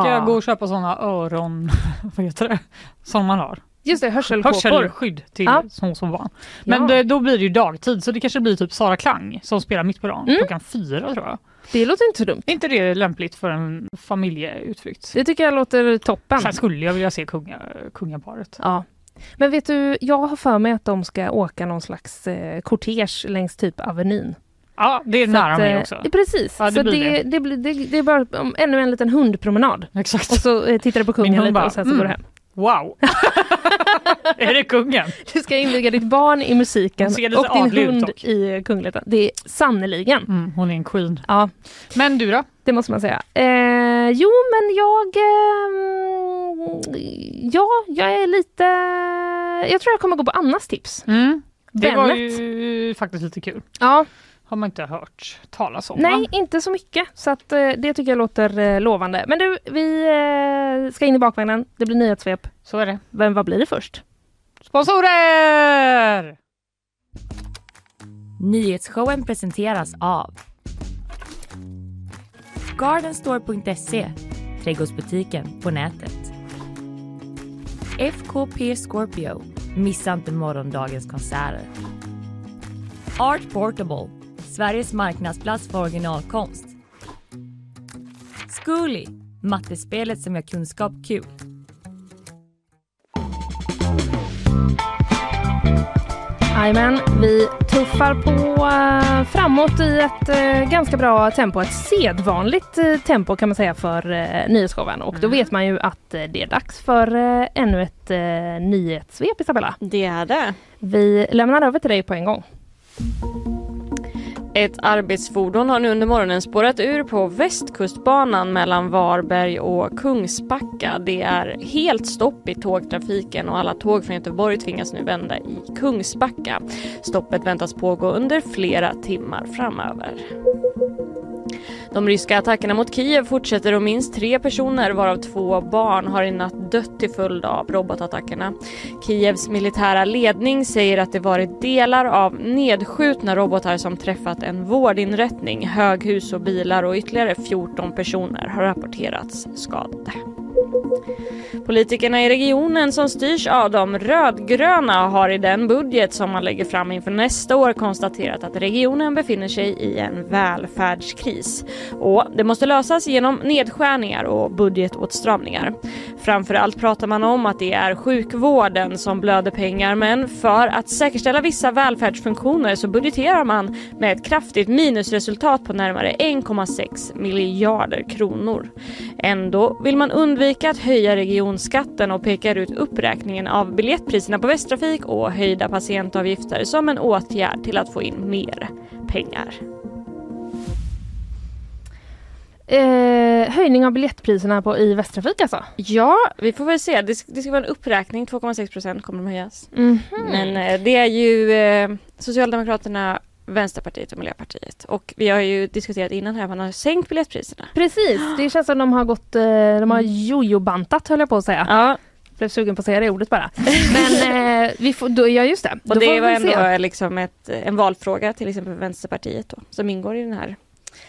Ska jag gå och köpa sådana öron... Vad heter det? Som man har. Just det, hörselkåpor. Hörselskydd till Ja. små som barn. Men Ja. det, då blir det ju dagtid så det kanske blir typ Sara Klang som spelar mitt på dagen Mm. klockan fyra tror jag. Det låter inte så dumt. Är inte det lämpligt för en familjeutflykt? Det tycker jag låter toppen. Sen skulle jag vilja se kunga, kungaparet. Ja. Men vet du, jag har för mig att de ska åka någon slags eh, kortege längs typ Avenyn. Ja, det är Så nära att, mig eh, också. Precis, Ja, det så blir det, det. det, blir- det, det är bara om, ännu en liten hundpromenad. Exakt. Och så eh, tittar du på kungen hund lite bara, och sen så mm. går du hem. Wow! är det kungen? Du ska inviga ditt barn i musiken Hon ser lite och adlig din ut hund dock. i kungligheten. Det är sannerligen. Mm, hon är en queen. Ja, Men du då? det måste man säga. Eh, jo, men jag... Eh, ja, jag är lite... Jag tror jag kommer gå på Annas tips. Mm, det var Bennet. ju faktiskt lite kul. Ja, har man inte hört talas om. Nej, va? inte så mycket. Så att, eh, det tycker jag låter eh, lovande. Men du, vi eh, ska in i bakvagnen. Det blir nyhetssvep. Så är det. Vem, vad blir det först? Sponsorer! Nyhetsshowen presenteras av Gardenstore.se, trädgårdsbutiken på nätet. FKP Scorpio, missa inte morgondagens konserter. Art Portable, Sveriges marknadsplats för originalkonst. Zcooly, mattespelet som gör kunskap kul. Jajamän, vi tuffar på eh, framåt i ett eh, ganska bra tempo. Ett sedvanligt eh, tempo kan man säga för eh, nyhetsshowen. Och då vet man ju att eh, det är dags för eh, ännu ett eh, nyhetssvep, Isabella. Det är det. Vi lämnar över till dig på en gång. Ett arbetsfordon har nu under morgonen spårat ur på Västkustbanan mellan Varberg och Kungsbacka. Det är helt stopp i tågtrafiken och alla tåg från Göteborg tvingas nu vända i Kungsbacka. Stoppet väntas pågå under flera timmar framöver. De ryska attackerna mot Kiev fortsätter och minst tre personer, varav två barn, har i natt dött till följd av robotattackerna. Kievs militära ledning säger att det varit delar av nedskjutna robotar som träffat en vårdinrättning, höghus och bilar och ytterligare 14 personer har rapporterats skadade. Politikerna i regionen som styrs av de rödgröna har i den budget som man lägger fram inför nästa år konstaterat att regionen befinner sig i en välfärdskris. Och det måste lösas genom nedskärningar och budgetåtstramningar. Framförallt pratar man om att det är sjukvården som blöder pengar men för att säkerställa vissa välfärdsfunktioner så budgeterar man med ett kraftigt minusresultat på närmare 1,6 miljarder kronor. Ändå vill man undvika att höja regionskatten och pekar ut uppräkningen av biljettpriserna på Västtrafik och höjda patientavgifter som en åtgärd till att få in mer pengar. Eh, höjning av biljettpriserna på, i Västtrafik alltså? Ja, vi får väl se. Det ska, det ska vara en uppräkning. 2,6 procent kommer de höjas. Mhm. Men Mm. eh, det är ju eh, Socialdemokraterna, Vänsterpartiet och Miljöpartiet. Och vi har ju diskuterat innan här att man har sänkt biljettpriserna. Precis, det känns som de har gått, eh, de har jojo-bantat höll jag på att säga. Ja, Blev sugen på att säga det ordet bara. Men eh, vi får, då, ja just det. och då får det vi var se. ändå liksom ett, en valfråga till exempel för Vänsterpartiet då, som ingår i den här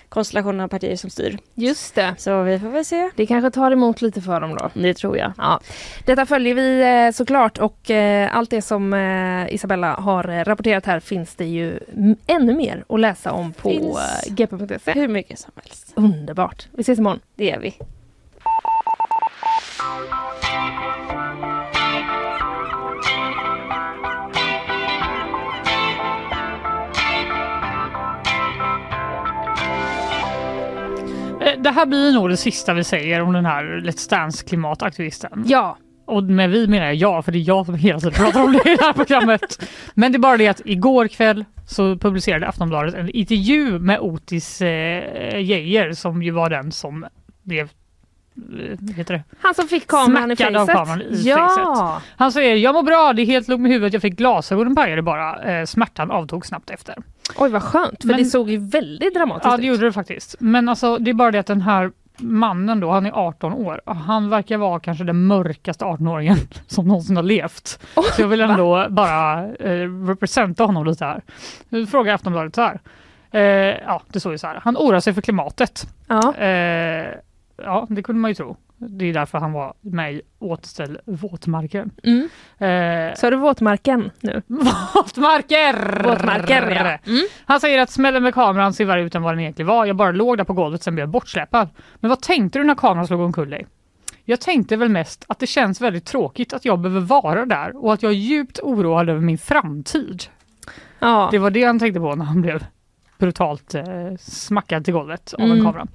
konstellationen av partier som styr. Just det. Så vi får väl se. Det kanske tar emot lite för dem då. Det tror jag. Ja. Detta följer vi eh, såklart och eh, allt det som eh, Isabella har eh, rapporterat här finns det ju m- ännu mer att läsa om på Finns. eh, gp.se. Hur mycket som helst. Underbart. Vi ses imorgon. Det gör vi. Eh, Det här blir nog det sista vi säger om den här Let's Dance klimataktivisten. Ja, Och med vi menar jag jag, för det är jag som hela tiden pratar om det i det här programmet. Men det är bara det att igår kväll så publicerade Aftonbladet en intervju med Otis eh, Geijer som ju var den som blev eh, vad heter det? han som fick kameran i Smackad av fejset. kameran i ja. Han säger jag mår bra, det är helt lugnt med huvudet, jag fick glasögonen pajade bara. Eh, smärtan avtog snabbt efter. Oj vad skönt, för Men- det såg ju väldigt dramatiskt Ja det ut. gjorde det faktiskt. Men alltså det är bara det att den här mannen då, han är 18 år. Han verkar vara kanske den mörkaste 18-åringen som någonsin har levt. så jag vill ändå bara eh, representa honom lite här. Nu frågar Aftonbladet så här. Eh, ja, det står ju så här. Han oroar sig för klimatet. Ja. Eh, ja, det kunde man ju tro. Det är därför han var med i Återställ våtmarken. Mm. Eh, Så är det våtmarken nu? Mm. Våtmarker! Våtmarker, ja. Han säger att smällen med kameran ser värre ut än vad den egentligen var. Jag bara låg där på golvet sen blev jag bortsläpad. Men vad tänkte du när kameran slog omkull dig? Jag tänkte väl mest att det känns väldigt tråkigt att jag behöver vara där och att jag är djupt oroad över min framtid. Ja. Det var det han tänkte på när han blev brutalt eh, smackad till golvet av Mm. en kamera.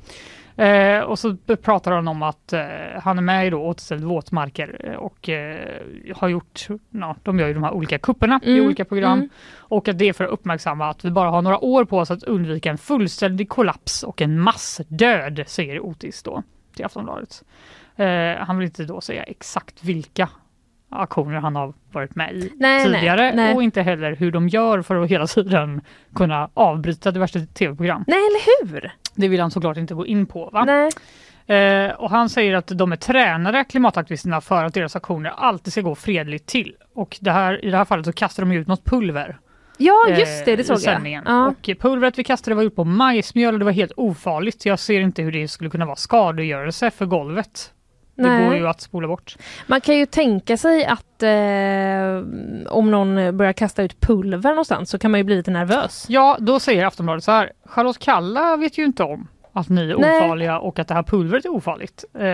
Eh, och så b- pratar han om att eh, han är med i då Återställd våtmarker eh, och eh, har gjort, ja, de gör ju de här olika kupperna i Mm, olika program mm. och att det är för att uppmärksamma att vi bara har några år på oss att undvika en fullständig kollaps och en massdöd, säger Otis då till Aftonbladet. Eh, han vill inte då säga exakt vilka aktioner han har varit med i Nej, tidigare nej, nej. och inte heller hur de gör för att hela tiden kunna avbryta diverse tv-program. Nej, eller hur? Det vill han såklart inte gå in på. Va? Nej. Eh, och han säger att de är tränare, klimataktivisterna, för att deras aktioner alltid ska gå fredligt till. Och det här, i det här fallet så kastar de ut något pulver. Ja, eh, just det, det i såg jag. sändningen. Ja. Och pulvret vi kastade var gjort på majsmjöl och det var helt ofarligt. Jag ser inte hur det skulle kunna vara skadegörelse för golvet. Nej. Det går ju att spola bort. Man kan ju tänka sig att eh, om någon börjar kasta ut pulver någonstans så kan man ju bli lite nervös. Ja, då säger Aftonbladet så här. Charlotte Kalla vet ju inte om att ni är Nej. ofarliga och att det här pulvret är ofarligt. Eh, det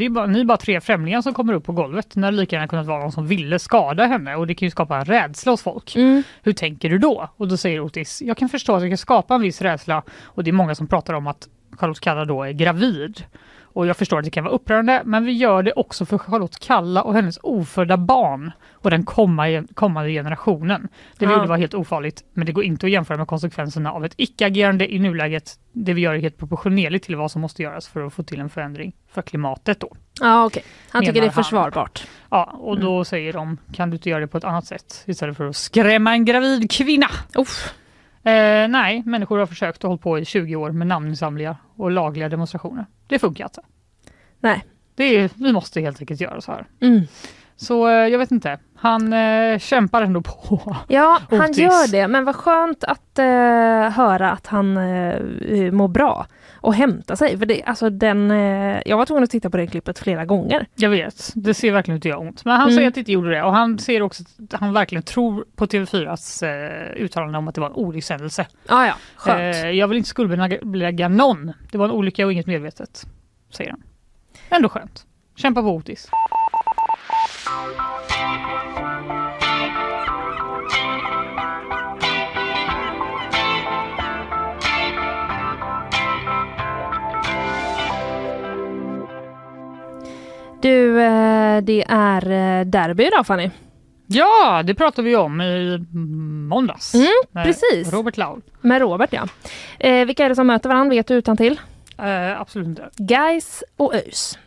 är bara, ni är bara tre främlingar som kommer upp på golvet när det lika gärna kunnat vara någon som ville skada henne och det kan ju skapa en rädsla hos folk. Mm. Hur tänker du då? Och då säger Otis, jag kan förstå att det kan skapa en viss rädsla och det är många som pratar om att Charlotte Kalla då är gravid. Och jag förstår att det kan vara upprörande men vi gör det också för Charlotte Kalla och hennes ofödda barn och den komma- kommande generationen. Det Ja. borde vara helt ofarligt men det går inte att jämföra med konsekvenserna av ett icke-agerande i nuläget. Det vi gör är helt proportionerligt till vad som måste göras för att få till en förändring för klimatet då. Ja, okej. Han tycker det Menar är han. försvarbart. Ja, och då Mm. säger de, kan du inte göra det på ett annat sätt istället för att skrämma en gravid kvinna? Uff. Eh, nej, människor har försökt och hållit på i 20 år med namninsamlingar och lagliga demonstrationer. Det funkar inte. Nej. Det är, vi måste helt enkelt göra så här. Mm. Så eh, jag vet inte. Han eh, kämpar ändå på. Ja, han Otis. gör det. Men vad skönt att eh, höra att han eh, mår bra och hämtar sig. För det, alltså den, eh, jag var tvungen att titta på det klippet flera gånger. Jag vet, det ser verkligen ut att göra ont. Men han Mm. säger att det inte gjorde det och han ser också att han verkligen tror på TV4s eh, uttalande om att det var en olyckshändelse. Ah, Ja, ja, skönt. Eh, jag vill inte skuldbelägga någon. Det var en olycka och inget medvetet, säger han. Ändå skönt. Kämpa på Otis. Du, eh, det är eh, derby idag Fanny. Ja, det pratade vi om i måndags. Mm, med precis. Robert Laul. Med Robert ja. Eh, vilka är det som möter varandra vet du utan till? Eh, absolut inte. Guys och ÖIS.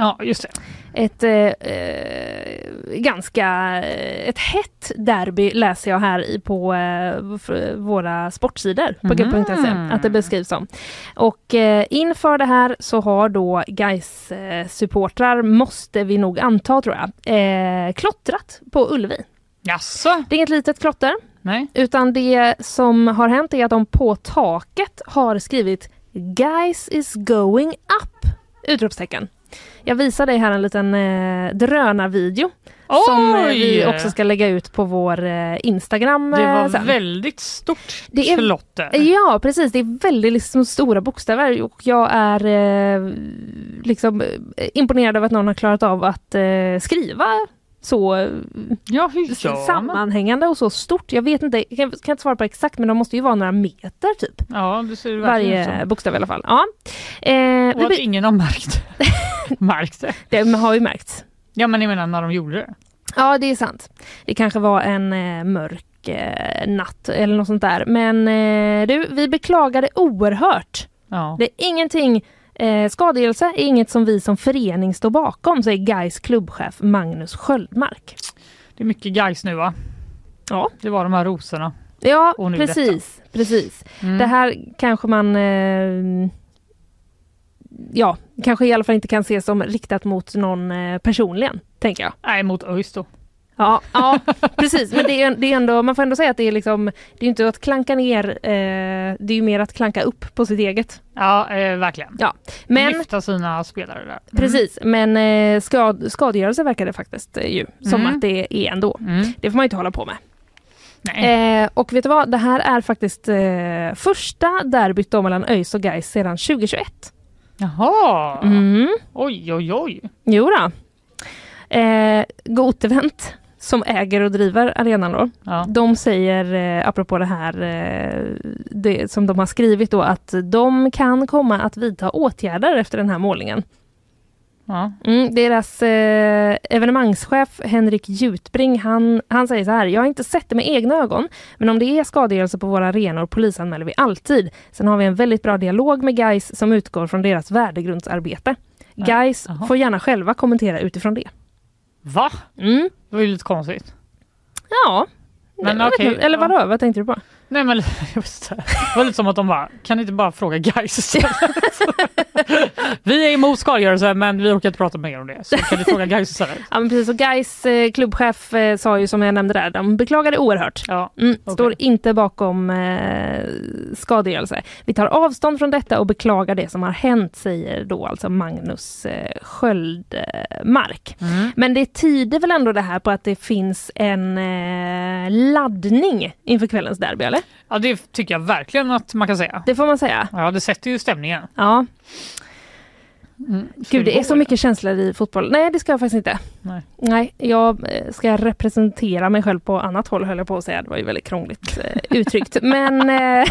Ja, just det. Ett eh, eh, ganska eh, ett hett derby läser jag här i på eh, f- våra sportsidor på gubb.se Mm. att det beskrivs som. Och eh, inför det här så har då Gais eh, supportrar måste vi nog anta tror jag, eh, klottrat på Ullevi. Jaså? Det är inget litet klotter Nej. utan det som har hänt är att de på taket har skrivit Guys is going up! Utropstecken. Jag visar dig här en liten eh, drönarvideo som eh, vi också ska lägga ut på vår eh, Instagram Det eh, var sen. väldigt stort Det är- klotter. Ja, precis. Det är väldigt liksom stora bokstäver och jag är eh, liksom eh, imponerad av att någon har klarat av att eh, skriva så eh, Ja, hur gör man? sammanhängande och så stort. Jag vet inte, jag kan, kan inte svara på exakt men de måste ju vara några meter typ. Ja, det ser verkligen ut Varje som. bokstav i alla fall. Ja. Eh, Och vi, att blir- ingen har märkt märkt det. det har ju märkts. Ja, men jag menar när de gjorde det. Ja, det är sant. Det kanske var en eh, mörk eh, natt eller något sånt där. Men eh, du, vi beklagar det oerhört. Ja. Det är ingenting Eh, skadegörelse är inget som vi som förening står bakom, säger Gais klubbchef Magnus Sköldmark. Det är mycket guys nu va? Ja. Det var de här rosorna. Ja, Och nu precis. precis. Mm. Det här kanske man... Eh, ja, kanske i alla fall inte kan ses som riktat mot någon eh, personligen, tänker jag. Nej, mot ÖIS då. Ja, ja precis. Men det är, det är ändå, man får ändå säga att det är liksom, det är ju inte att klanka ner, eh, det är ju mer att klanka upp på sitt eget. Ja, eh, verkligen. Men Lyfta sina spelare där. Mm. precis, men eh, skad, skadegörelse verkar det faktiskt eh, ju som Mm. att det är ändå. Mm. Det får man ju inte hålla på med. Nej. Eh, och vet du vad, det här är faktiskt eh, första derbyt då mellan ÖIS och Gais sedan 2021. Jaha. Mm. Oj, oj, oj. Jo då. Eh, Gotevent som äger och driver arenan då. Ja. De säger, eh, apropå det här eh, det som de har skrivit då, att de kan komma att vidta åtgärder efter den här målningen. Ja. Mm, deras eh, evenemangschef Henrik Jutbring, han, han säger så här, jag har inte sett det med egna ögon, men om det är skadegörelse på våra arenor polisanmäler vi alltid. Sen har vi en väldigt bra dialog med Gais som utgår från deras värdegrundsarbete. Gais jaha. får gärna själva kommentera utifrån det. Va? Mm. Det var ju lite konstigt. Ja. Men Jag vet okej, inte. Eller vadå, vad tänkte du på? Nej men just det. Det var lite som att de bara, kan ni inte bara fråga guys istället? Vi är emot skadegörelse men vi orkar inte prata mer om det. Så kan ni fråga guys istället? Ja, men precis. Och Gais eh, klubbchef eh, sa ju som jag nämnde där, de beklagade oerhört. Ja. Mm, Okej. Står inte bakom eh, skadegörelse. Vi tar avstånd från detta och beklagar det som har hänt, säger då alltså Magnus eh, Sköldmark. Men det tyder väl ändå det här på att det finns en eh, laddning inför kvällens derby, eller? ja det tycker jag verkligen att man kan säga. Det får man säga. Ja det sätter ju stämningen. Ja. Mm. Gud, det är så mycket känslor i fotboll. Nej, det ska jag faktiskt inte. Nej. Nej, jag eh, ska representera mig själv på annat håll, höll jag på att säga. Det var ju väldigt krångligt eh, uttryckt. Men eh,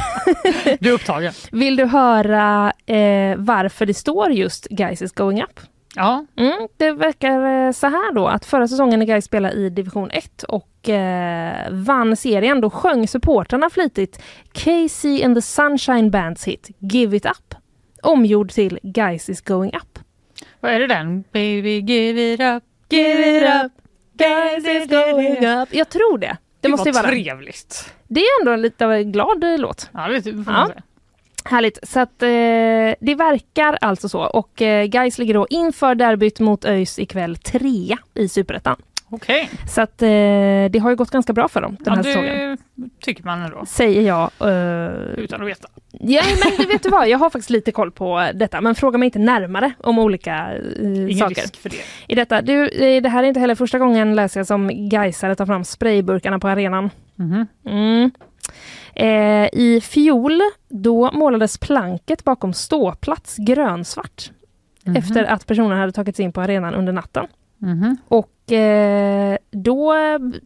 Du är upptagen. vill du höra eh, varför det står just Guys is going up? Ja. Mm, det verkar eh, så här då att förra säsongen när Gais spelade i division 1 och eh, vann serien då sjöng supportrarna flitigt Casey and the Sunshine Bands hit Give It Up omgjord till Gais is going up. Vad är det den? Baby give it up. Give it up, Gais is going up. Jag tror det. Det, måste ju var vara. trevligt. Det är ändå en lite av en glad eh, låt. Ja, det får man Ja. säga. Härligt. Så att, eh, det verkar alltså så. Och eh, Gais ligger då inför derbyt mot ÖIS ikväll trea i Superettan. Okej. Så att eh, det har ju gått ganska bra för dem den Ja, här det säsongen. tycker man ändå. Säger jag. Eh, Utan att veta. ja, men du vet du vad, jag har faktiskt lite koll på detta. Men fråga mig inte närmare om olika eh, Ingen saker. risk för det. I detta. Du, eh, det här är inte heller första gången läser jag som Gaisare tar fram sprayburkarna på arenan. Mhm. Mm. Eh, I fjol då målades planket bakom ståplats grönsvart efter att personen hade tagit sig in på arenan under natten. Mhm. Och eh, då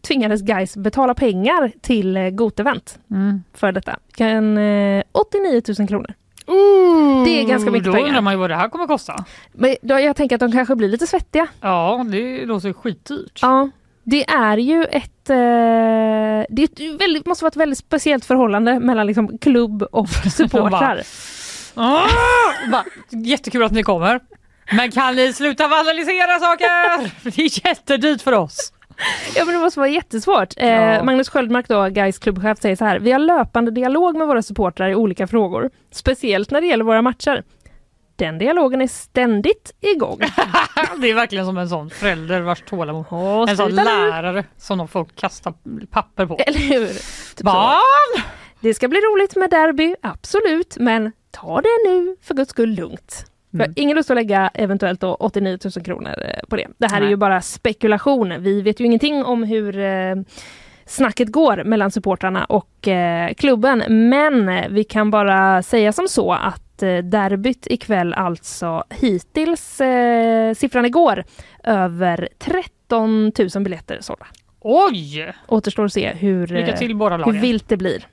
tvingades guys betala pengar till eh, Gotevent Mm. för detta. Kan, eh, 89 000 kronor. Det är ganska mycket Då pengar. undrar man ju vad det här kommer kosta. Men då, jag tänker att de kanske blir lite svettiga. Ja, det låter ju skitdyrt. Ja, det är ju ett... Eh, det är ett ju väldigt, måste vara ett väldigt speciellt förhållande mellan liksom, klubb och supportrar. Ah! Bara, Jättekul att ni kommer. Men kan ni sluta vandalisera saker? För Det är jättedyrt för oss. Ja men det måste vara jättesvårt. Eh, Ja. Magnus Sköldmark då, Gais klubbchef, säger så här. Vi har löpande dialog med våra supportrar i olika frågor. Speciellt när det gäller våra matcher. Den dialogen är ständigt igång. Det är verkligen som en sån förälder vars tålamod... Åh, En sån sluta nu. lärare som de får kasta papper på. Eller hur? Typ så. Barn! Det ska bli roligt med derby, absolut, men ta det nu för guds skull lugnt. Jag har ingen lust att lägga eventuellt då 89 000 kronor eh, på det. Det här är Nej. ju bara spekulation. Vi vet ju ingenting om hur eh, snacket går mellan supportrarna och eh, klubben. Men eh, vi kan bara säga som så att eh, derbyt ikväll alltså hittills, eh, siffran igår, över 13 000 biljetter sålda. Oj! Återstår att se hur, Lycka eh, till båda hur lagen. vilt det blir.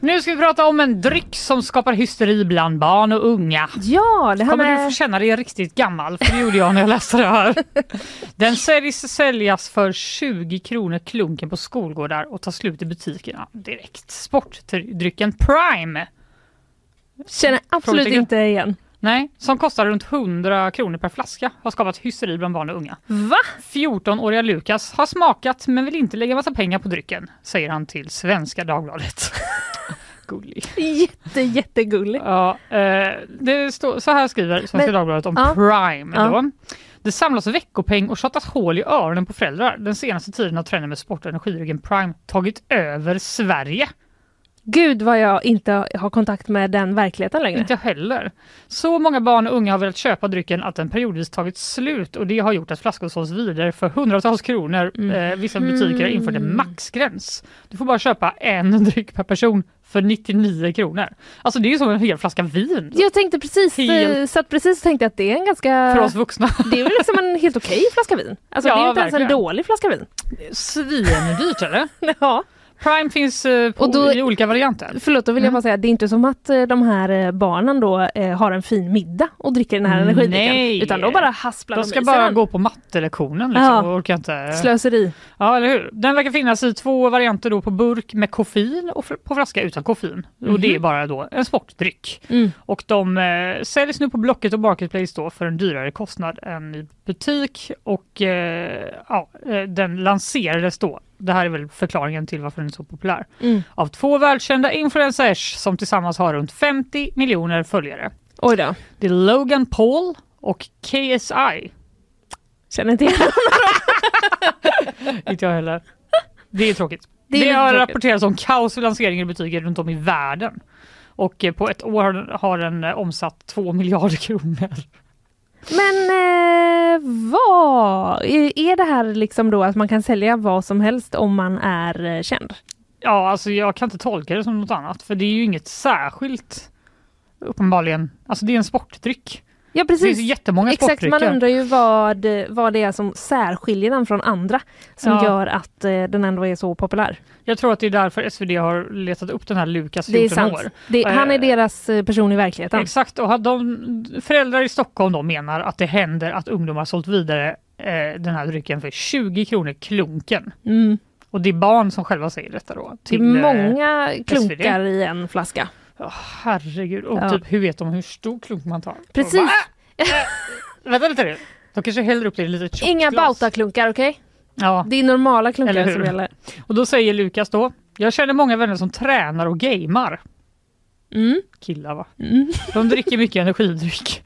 Nu ska vi prata om en dryck som skapar hysteri bland barn och unga. Ja, det här Kommer du med... få känna dig riktigt gammal? För det gjorde jag när jag läste det här. Den säljs, säljas för 20 kronor klunken på skolgårdar och tar slut i butikerna direkt. Sportdrycken Prime, Känner absolut Frågetecken. inte igen. nej, som kostar runt 100 kronor per flaska, har skapat hysteri bland barn och unga. Va? 14-åriga Lukas har smakat men vill inte lägga massa pengar på drycken, säger han till Svenska Dagbladet. Gullig. Jätte, jättegulligt. Ja, eh, det står, så här skriver Svenska Men- Dagbladet om ja. Prime. Ja. Då. Det samlas veckopeng och tjatas hål i öronen på föräldrar. Den senaste tiden har trenden med sport och energidrycken Prime tagit över Sverige. Gud vad jag inte har kontakt med den verkligheten längre. Inte jag heller. Så många barn och unga har velat köpa drycken att den periodvis tagit slut och det har gjort att flaskor sålts vidare för hundratals kronor. Mm. Eh, vissa butiker har infört en maxgräns. Du får bara köpa en dryck per person för 99 kronor. Alltså det är ju som en hel flaska vin Jag tänkte precis, Helt- eh, satt precis och tänkte att det är en ganska... för oss vuxna. Det är väl liksom en helt okej flaska vin. Alltså Ja, det är ju inte ens en verkligen. dålig flaska vin. Svindyrt eller? Ja. Prime finns eh, på, Och då- i olika varianter. Förlåt, då vill Mm. jag bara säga att det är inte som att eh, de här eh, barnen då eh, har en fin middag och dricker den här energidrycken. Nej. Utan då bara hasplar De i ska sig bara den. gå på mattelektionen liksom, Ja. och orkar inte. Slöseri. Ja, eller hur? Den verkar finnas i två varianter då på burk med koffein och fr- på flaska utan koffein. Och det är bara då en sportdryck. Mhm. Mm. Och de eh, säljs nu på Blocket och Marketplace då för en dyrare kostnad än i butik. Och eh, ja, eh, den lanserades då, det här är väl förklaringen till varför den är så populär, Mm. av två välkända influencers som tillsammans har runt 50 miljoner följare. Oj då. Det är Logan Paul och KSI. Känner inte igen. Inte jag heller. Det är tråkigt. Det Det, är lite har tråkigt. rapporterats om kaos vid lanseringen i butiker runt om i världen. Och eh, på ett år har den eh, omsatt 2 miljarder kronor. Men eh, vad? Är är det här liksom då att man kan sälja vad som helst om man är eh, känd? Ja, alltså jag kan inte tolka det som något annat för det är ju inget särskilt uppenbarligen. Alltså det är en sportdryck. Ja Det finns ju precis. jättemånga Exakt, man sportdrycker. undrar ju vad, vad det är som särskiljer den från andra som Ja. Typ gör att eh, den ändå är så populär. Jag tror att det är därför SvD har letat upp den här Lukas Det är 14 sant. år. Det, han är Eh, deras eh, person i verkligheten. Exakt, och hade de, föräldrar i Stockholm då menar att det händer att ungdomar sålt vidare eh, den här drycken för 20 kronor klunken. Mm. Och det är barn som själva säger detta då. Det är eh, många klunkar i en flaska. ja, herregud, och Ja. typ hur vet de hur stor klunk man tar? Precis. Och bara, "Äh, äh, vänta lite nu. De kanske häller upp det i lite tjockt Inga glas. Bauta-klunkar, okej? Ja, Det är normala Eller klunkar hur? som gäller. och då säger Lukas då. Jag känner många vänner som tränar och gamer. Mm. Killar va? Mm. De dricker mycket energidryck.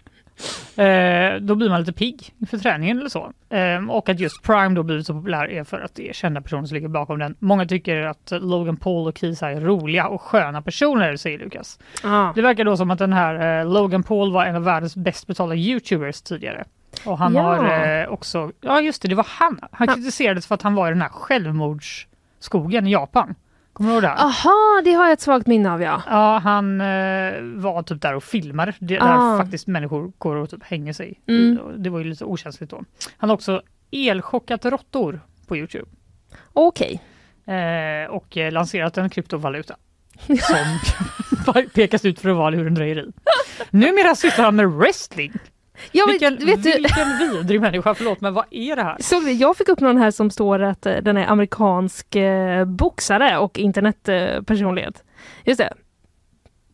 Eh, då blir man lite pigg inför träningen eller så. Eh, och att just Prime då blivit så populär är för att det är kända personer som ligger bakom den. Många tycker att Logan Paul och Kisa är roliga och sköna personer, säger Lukas. Ja. Det verkar då som att den här eh, Logan Paul var en av världens bäst betalda YouTubers tidigare. Och han Ja. har eh, också, ja just det, det var han. Han kritiserades för att han var i den här självmordsskogen i Japan. Kommer du ihåg det? här? Aha, det har jag ett svagt minne av ja. Ja, han eh, var typ där och filmade. Det, Ah. Där faktiskt människor går och typ hänger sig. Mm. Det var ju lite okänsligt då. Han har också elchockat råttor på Youtube. Okej. Eh, och eh, lanserat en kryptovaluta. Som pekas ut för att vara lurendrejeri. Numera sysslar han med wrestling. Ja, men, vilken vet du, vilken vidrig människa, förlåt men vad är det här? såg du, jag fick upp någon här som står att eh, den är amerikansk eh, boxare och internetpersonlighet. Eh, personlighet. Just det.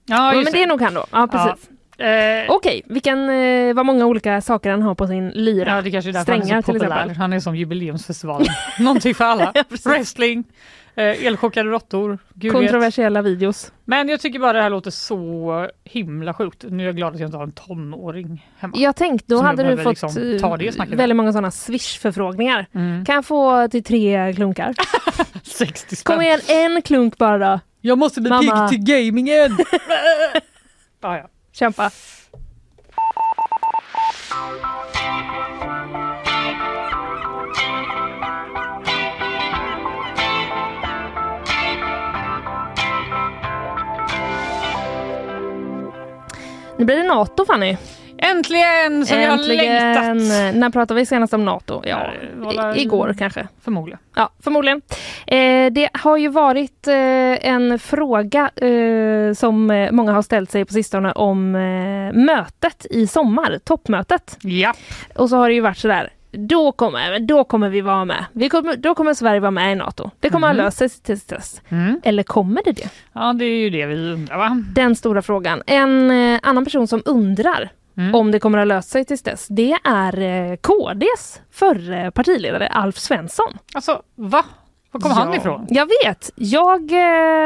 Ja, men det är nog han då. Ja, precis. Eh, Okej, vilken, eh, vad många olika saker han har på sin lyra. Ja, det kanske är därför han är Strängar, så till populär. exempel. Han är som jubileumsfestivalen. Någonting för alla. Wrestling, eh, elchockade råttor. Gud vet. Kontroversiella videos. Men jag tycker bara det här låter så himla sjukt. Nu är jag glad att jag inte har en tonåring hemma. Jag tänkte, då Som jag hade du behöver fått liksom eh, ta det snacket med. väldigt många sådana swish-förfrågningar. Mm. Kan jag få till tre klunkar? 60 spänn. Kom igen, en klunk bara då. Jag måste bli Mamma. pigg till gamingen! ah, ja. Kämpa. Nu blir det NATO Fanny. Äntligen! Som jag har längtat! När pratade vi senast om NATO? Ja, Nej, det var väl- i- igår kanske. Förmodligen. Ja, förmodligen. Eh, det har ju varit eh, en fråga eh, som eh, många har ställt sig på sistone om eh, mötet i sommar, toppmötet. Ja. Och så har det ju varit sådär, då kommer, men då kommer vi vara med. Vi kommer, då kommer Sverige vara med i NATO. Det kommer att lösa sig till dess. Mm. Eller kommer det det? ja, det är ju det vi undrar va? Den stora frågan. En eh, annan person som undrar Mm. om det kommer att lösa sig till dess, det är eh, KDs förre partiledare Alf Svensson. Alltså, va? Var kom han Ja. ifrån? Jag vet. Jag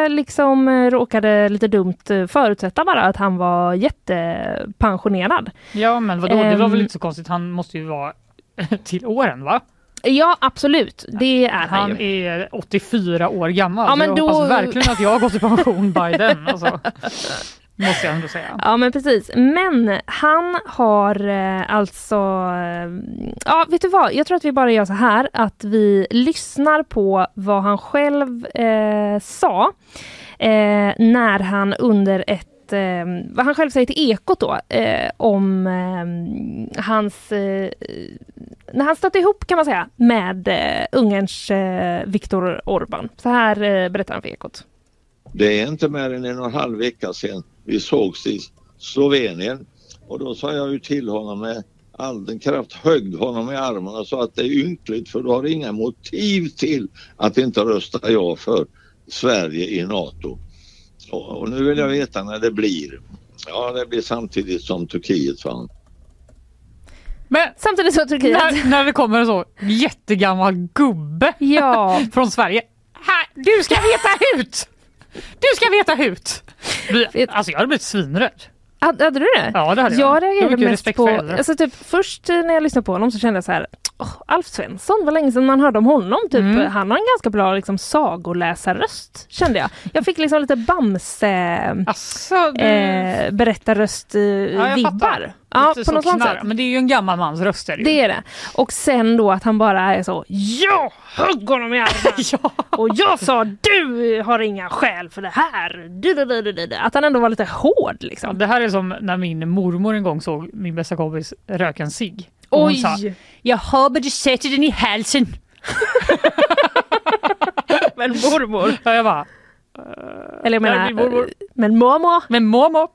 eh, liksom eh, råkade lite dumt eh, förutsätta bara att han var jättepensionerad. Ja, men vadå? Det var Ehm. väl inte så konstigt? Han måste ju vara till åren va? Ja, absolut. Det är han Han ju. är 84 år gammal. Ja, så men jag då- hoppas verkligen att jag har gått i pension by then. Alltså. Måste jag ändå säga. Ja men precis. Men han har eh, alltså... eh, Ja vet du vad, jag tror att vi bara gör så här att vi lyssnar på vad han själv eh, sa eh, när han under ett att eh, vad han själv säger till Ekot då eh, om eh, hans eh, när han stötte ihop kan man säga med eh, Ungerns eh, Viktor Orbán. Så här eh, berättar han för Ekot. Det är inte mer än en och en halv vecka sedan vi sågs i Slovenien och då sa jag ju till honom eh. med all den kraft högg honom i armen och sa att det är ynkligt för du har inga motiv till att inte rösta ja för Sverige i NATO. Och, och nu vill jag veta när det blir. Ja, det blir samtidigt som Turkiet, sa han. Men Samtidigt så Turkiet. när, när det kommer en så jättegammal gubbe Ja, från Sverige. Här, du ska veta hut! Du ska veta hut! Bli- Alltså jag hade blivit svinrädd. hade, hade du det? Ja det hade Jag jag. Jag har reagerade mycket mest respekt på, för äldre. alltså typ först eh, när jag lyssnade på honom så kände jag så här, "Åh, Alf Svensson, vad länge sedan man hörde om honom. Typ. Mm. Han har en ganska bra liksom, sagoläsarröst kände jag. Jag fick liksom lite Bamse-berättarröst-vibbar. Alltså, Eh, det... Ja, jag berättarröst-vibbar. fattar. ja, Lite på så något sånt knarr. sätt. Men det är ju en gammal mans röst. Är det ju. Det är det. Och sen då att han bara är så Jag högg honom i armen och jag sa du har inga skäl för det här. Du, du, du, du, du. Att han ändå var lite hård Ja, liksom. det här är som när min mormor en gång såg min bästa kompis röka en cigg. Och hon Oj! sa “Jaha, men du sätter den i halsen”. Men mormor. Ja, jag bara Eller jag Nej, menar, min mormor. men mormor. “Men mormor”.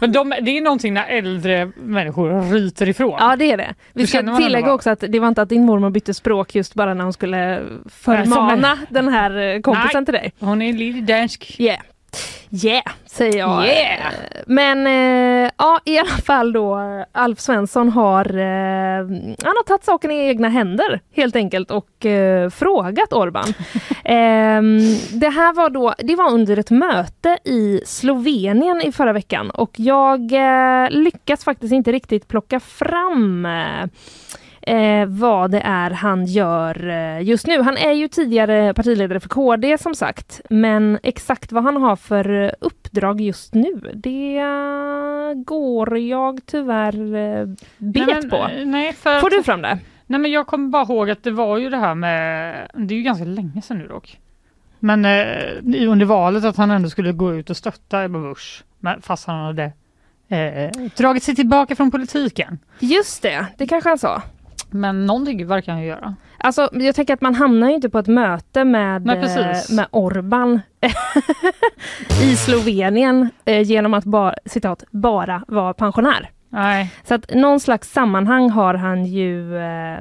Men de, det är någonting när äldre människor ryter ifrån. Ja det är det. Vi Då ska känner man ändå tillägga bara- också att det var inte att din mormor bytte språk just bara när hon skulle förmana den här eh, kompisen Nej. till dig. Hon är lite dansk. Yeah. Yeah, säger jag. Yeah. Men eh, ja, i alla fall då Alf Svensson har, eh, han har tagit saken i egna händer helt enkelt och eh, frågat Orban. Ehm, det här var då, det var under ett möte i Slovenien i förra veckan och jag eh, lyckas faktiskt inte riktigt plocka fram eh, eh, vad det är han gör eh, just nu. Han är ju tidigare partiledare för KD som sagt, men exakt vad han har för eh, uppdrag just nu, det eh, går jag tyvärr eh, bet nej, men, på. eh, Nej, för Får att, du fram det? nej, men jag kommer bara ihåg att det var ju det här med, det är ju ganska länge sedan nu dock. Men eh, i- under valet att han ändå skulle gå ut och stötta Ebba Busch, men- fast han hade eh, dragit sig tillbaka från politiken. Just det, det kanske han sa. Men någonting verkar han ju göra. Alltså, jag tänker att man hamnar ju inte på ett möte med, Nej, eh, precis. med Orban i Slovenien eh, genom att bara, citat, bara vara pensionär. Nej. Så att någon slags sammanhang har han ju eh,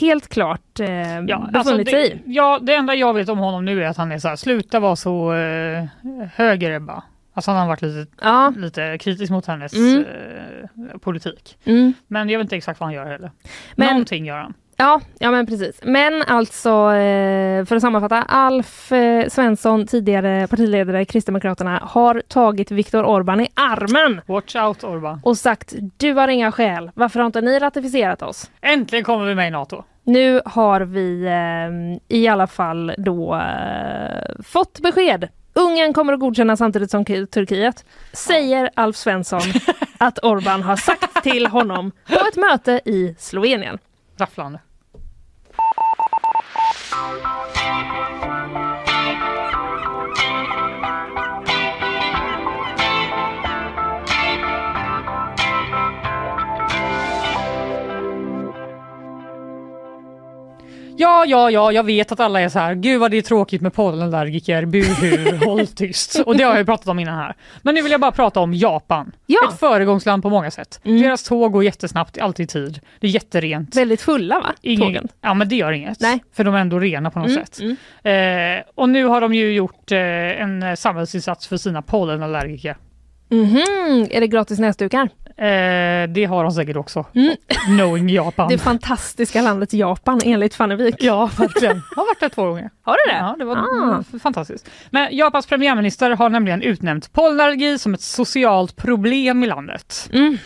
helt klart eh, befunnit sig alltså det, i. ja, det enda jag vet om honom nu är att han är så här, sluta vara så eh, höger Ebba. Alltså han har varit lite, Ja, lite kritisk mot hennes Mm. eh, politik. mm. Men jag vet inte exakt vad han gör heller. Men- Någonting gör han. ja, ja men precis. Men alltså, eh, för att sammanfatta, Alf eh, Svensson, tidigare partiledare i Kristdemokraterna, har tagit Viktor Orban i armen Watch out Orban. och sagt du har inga skäl, varför har inte ni ratificerat oss? Äntligen kommer vi med i NATO. Nu har vi eh, i alla fall då eh, fått besked. Ungern kommer att godkänna samtidigt som K- Turkiet, säger Alf Svensson att Orban har sagt till honom på ett möte i Slovenien. Rafflande. Ja, ja, ja, jag vet att alla är så här, gud vad det är tråkigt med pollenallergiker, buhu, håll tyst. Och det har jag ju pratat om innan här. Men nu vill jag bara prata om Japan. Ja. Ett föregångsland på många sätt. Deras tåg går jättesnabbt, alltid i tid. Det är jätterent. Väldigt fulla va? Tågen. Ingen, ja men det gör inget, Nej. Mm, för de är ändå rena på något sätt. Eh, och nu har de ju gjort eh, en eh, samhällsinsats för sina pollenallergiker. Mhm, Är det gratis näsdukar? Eh, det har de säkert också, knowing Japan. Mm. Det fantastiska landet Japan enligt Fannevik. Ja, verkligen. Jag har varit där två gånger. Har du det? Ja, det var Ah. mm, fantastiskt. Men Japans premiärminister har nämligen utnämnt pollenallergi som ett socialt problem i landet. Mhm.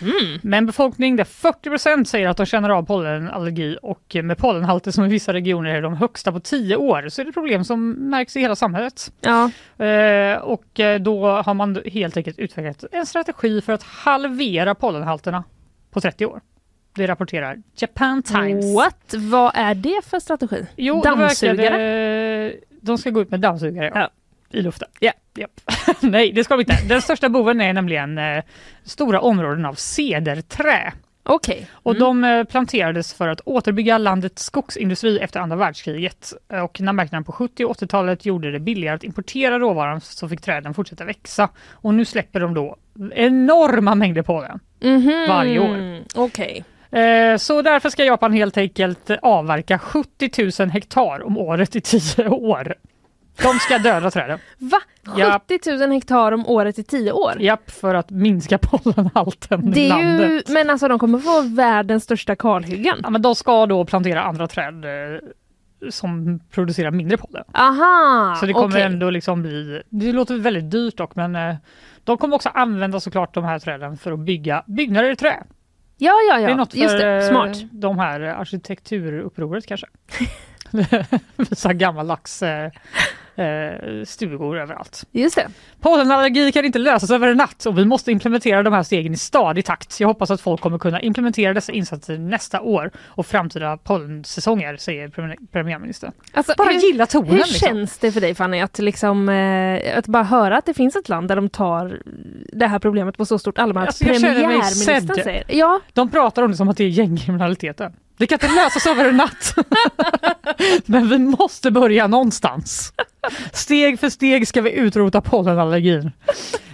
Med en befolkning där 40 säger att de känner av pollenallergi och med pollenhalter som i vissa regioner är de högsta på 10 år så är det ett problem som märks i hela samhället. Ja. Eh, och eh, då har man helt enkelt utvecklat en strategi för att halvera pollenhalterna på 30 år. Det rapporterar Japan Times. What? Vad är det för strategi? Jo, det Dammsugare? verkade, de ska gå ut med dammsugare. Ja. I luften. Ja. Japp. Nej, det ska vi inte. Den största boven är nämligen eh, stora områden av cederträ. Okej. Och de eh, planterades för att återbygga landets skogsindustri efter andra världskriget. Eh, Och när marknaden på 70 och 80-talet gjorde det billigare att importera råvaran så fick träden fortsätta växa. Och nu släpper de då enorma mängder på den. Mhm. Varje år. Okej. Eh, Så därför ska Japan helt enkelt avverka 70 000 hektar om året i 10 år. De ska döda träden. Va? Ja. 70 000 hektar om året i tio år? Japp, för att minska pollenhalten Det i är landet. ju, men alltså de kommer få världens största kalhyggen. Ja, men de ska då plantera andra träd eh, som producerar mindre pollen. Aha! Så det kommer okej. ändå liksom bli, det låter väldigt dyrt dock men eh, de kommer också använda såklart de här träden för att bygga byggnader i trä. Ja, ja, ja. Det är något för Just det. eh, Smart. de här eh, arkitekturupproret kanske. Visa gammaldags eh, eh, stugor överallt. Just det. Pollenallergi kan inte lösas över en natt och vi måste implementera de här stegen i stadig takt. Jag hoppas att folk kommer kunna implementera dessa insatser nästa år och framtida pollensäsonger, säger premi- premiärministern. Alltså, Bara hur, gilla tonen hur liksom. känns det för dig Fanny att, liksom, eh, att bara höra att det finns ett land där de tar det här problemet på så stort allvar att Alltså, jag känner mig premiärministern sedd. säger Ja, De pratar om det som att det är gängkriminaliteten. Det kan inte lösas över en natt. Men vi måste börja någonstans. Steg för steg ska vi utrota pollenallergin.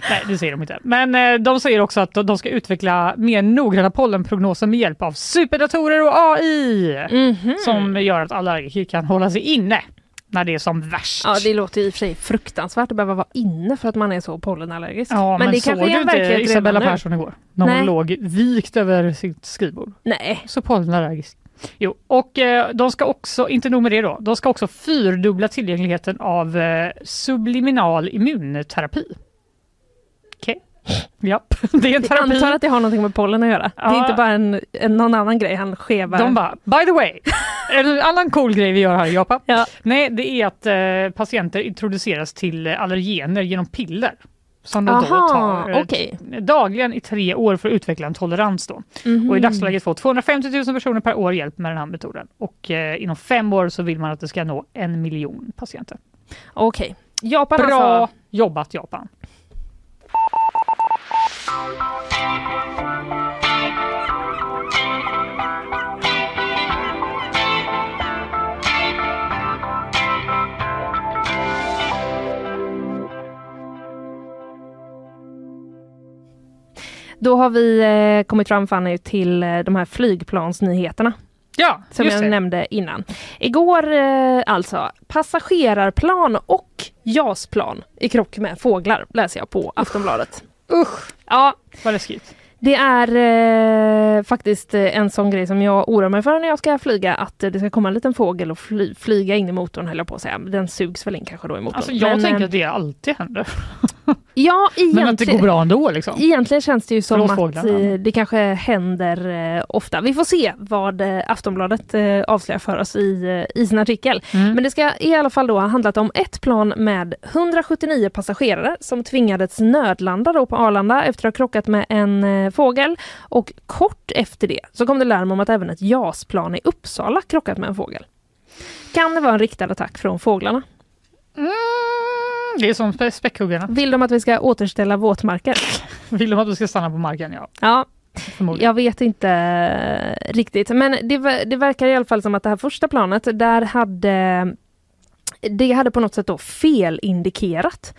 Nej, det säger de inte. Men eh, de säger också att de- de ska utveckla mer noggranna pollenprognoser med hjälp av superdatorer och AI. Mm. Som gör att allergiker kan hålla sig inne när det är som värst. ja det låter ju i och för sig fruktansvärt att behöva vara inne för att man är så pollenallergisk. Ja, men, det såg kanske du är en inte verklighet Isabella redan nu. Persson igår? När hon Nej. låg vikt över sitt skrivbord. Nej. Så pollenallergisk. Jo, och eh, de ska också, inte nog med det då, de ska också fyrdubbla tillgängligheten av eh, subliminal immunterapi. Okej. Ja, det är en Jag antar terapi. att det har någonting med pollen att göra. Det är Ja. inte bara en, en, någon annan grej han skevar. De bara, by the way, en annan cool grej vi gör här i Japan. Ja. Nej, det är att eh, patienter introduceras till eh, allergener genom piller. Som de då Aha, tar eh, okej. dagligen i tre år för att utveckla en tolerans. Då. Och Mhm. I dagsläget får 250 000 personer per år hjälp med den här metoden. Och eh, inom fem år så vill man att det ska nå en miljon patienter. Okej. Japan Bra alltså. jobbat Japan! Då har vi eh, kommit fram Fanny till eh, de här flygplansnyheterna Ja, som eh, just jag det. nämnde innan. Igår eh, alltså, passagerarplan och JAS-plan i krock med fåglar läser jag på Aftonbladet. Usch! Ja, Vad läskigt. det är eh, faktiskt eh, en sån grej som jag oroar mig för när jag ska flyga, att eh, det ska komma en liten fågel och fly, flyga in i motorn höll jag på att säga. Den sugs väl in kanske då i motorn. Alltså, jag Men, tänker eh, att det alltid händer. ja, Men att det går egentligen- bra ändå liksom. Egentligen känns det ju som Förlåt, att fåglarna. eh, det kanske händer eh, ofta. Vi får se vad eh, Aftonbladet eh, avslöjar för oss i, eh, i sin artikel. Mm. Men det ska i alla fall då ha handlat om ett plan med 179 passagerare som tvingades nödlanda då på Arlanda efter att ha krockat med en eh, fågel. Och kort efter det så kom det larm om att även ett JAS-plan i Uppsala krockat med en fågel. Kan det vara en riktad attack från fåglarna? Mm, Det är som spe- späckhuggarna. Vill de att vi ska återställa våtmarker? Vill de att du ska stanna på marken? Ja, Ja, förmodligen. Jag vet inte eh, riktigt, men det, ver- det verkar i alla fall som att det här första planet, där hade det hade på något sätt då felindikerat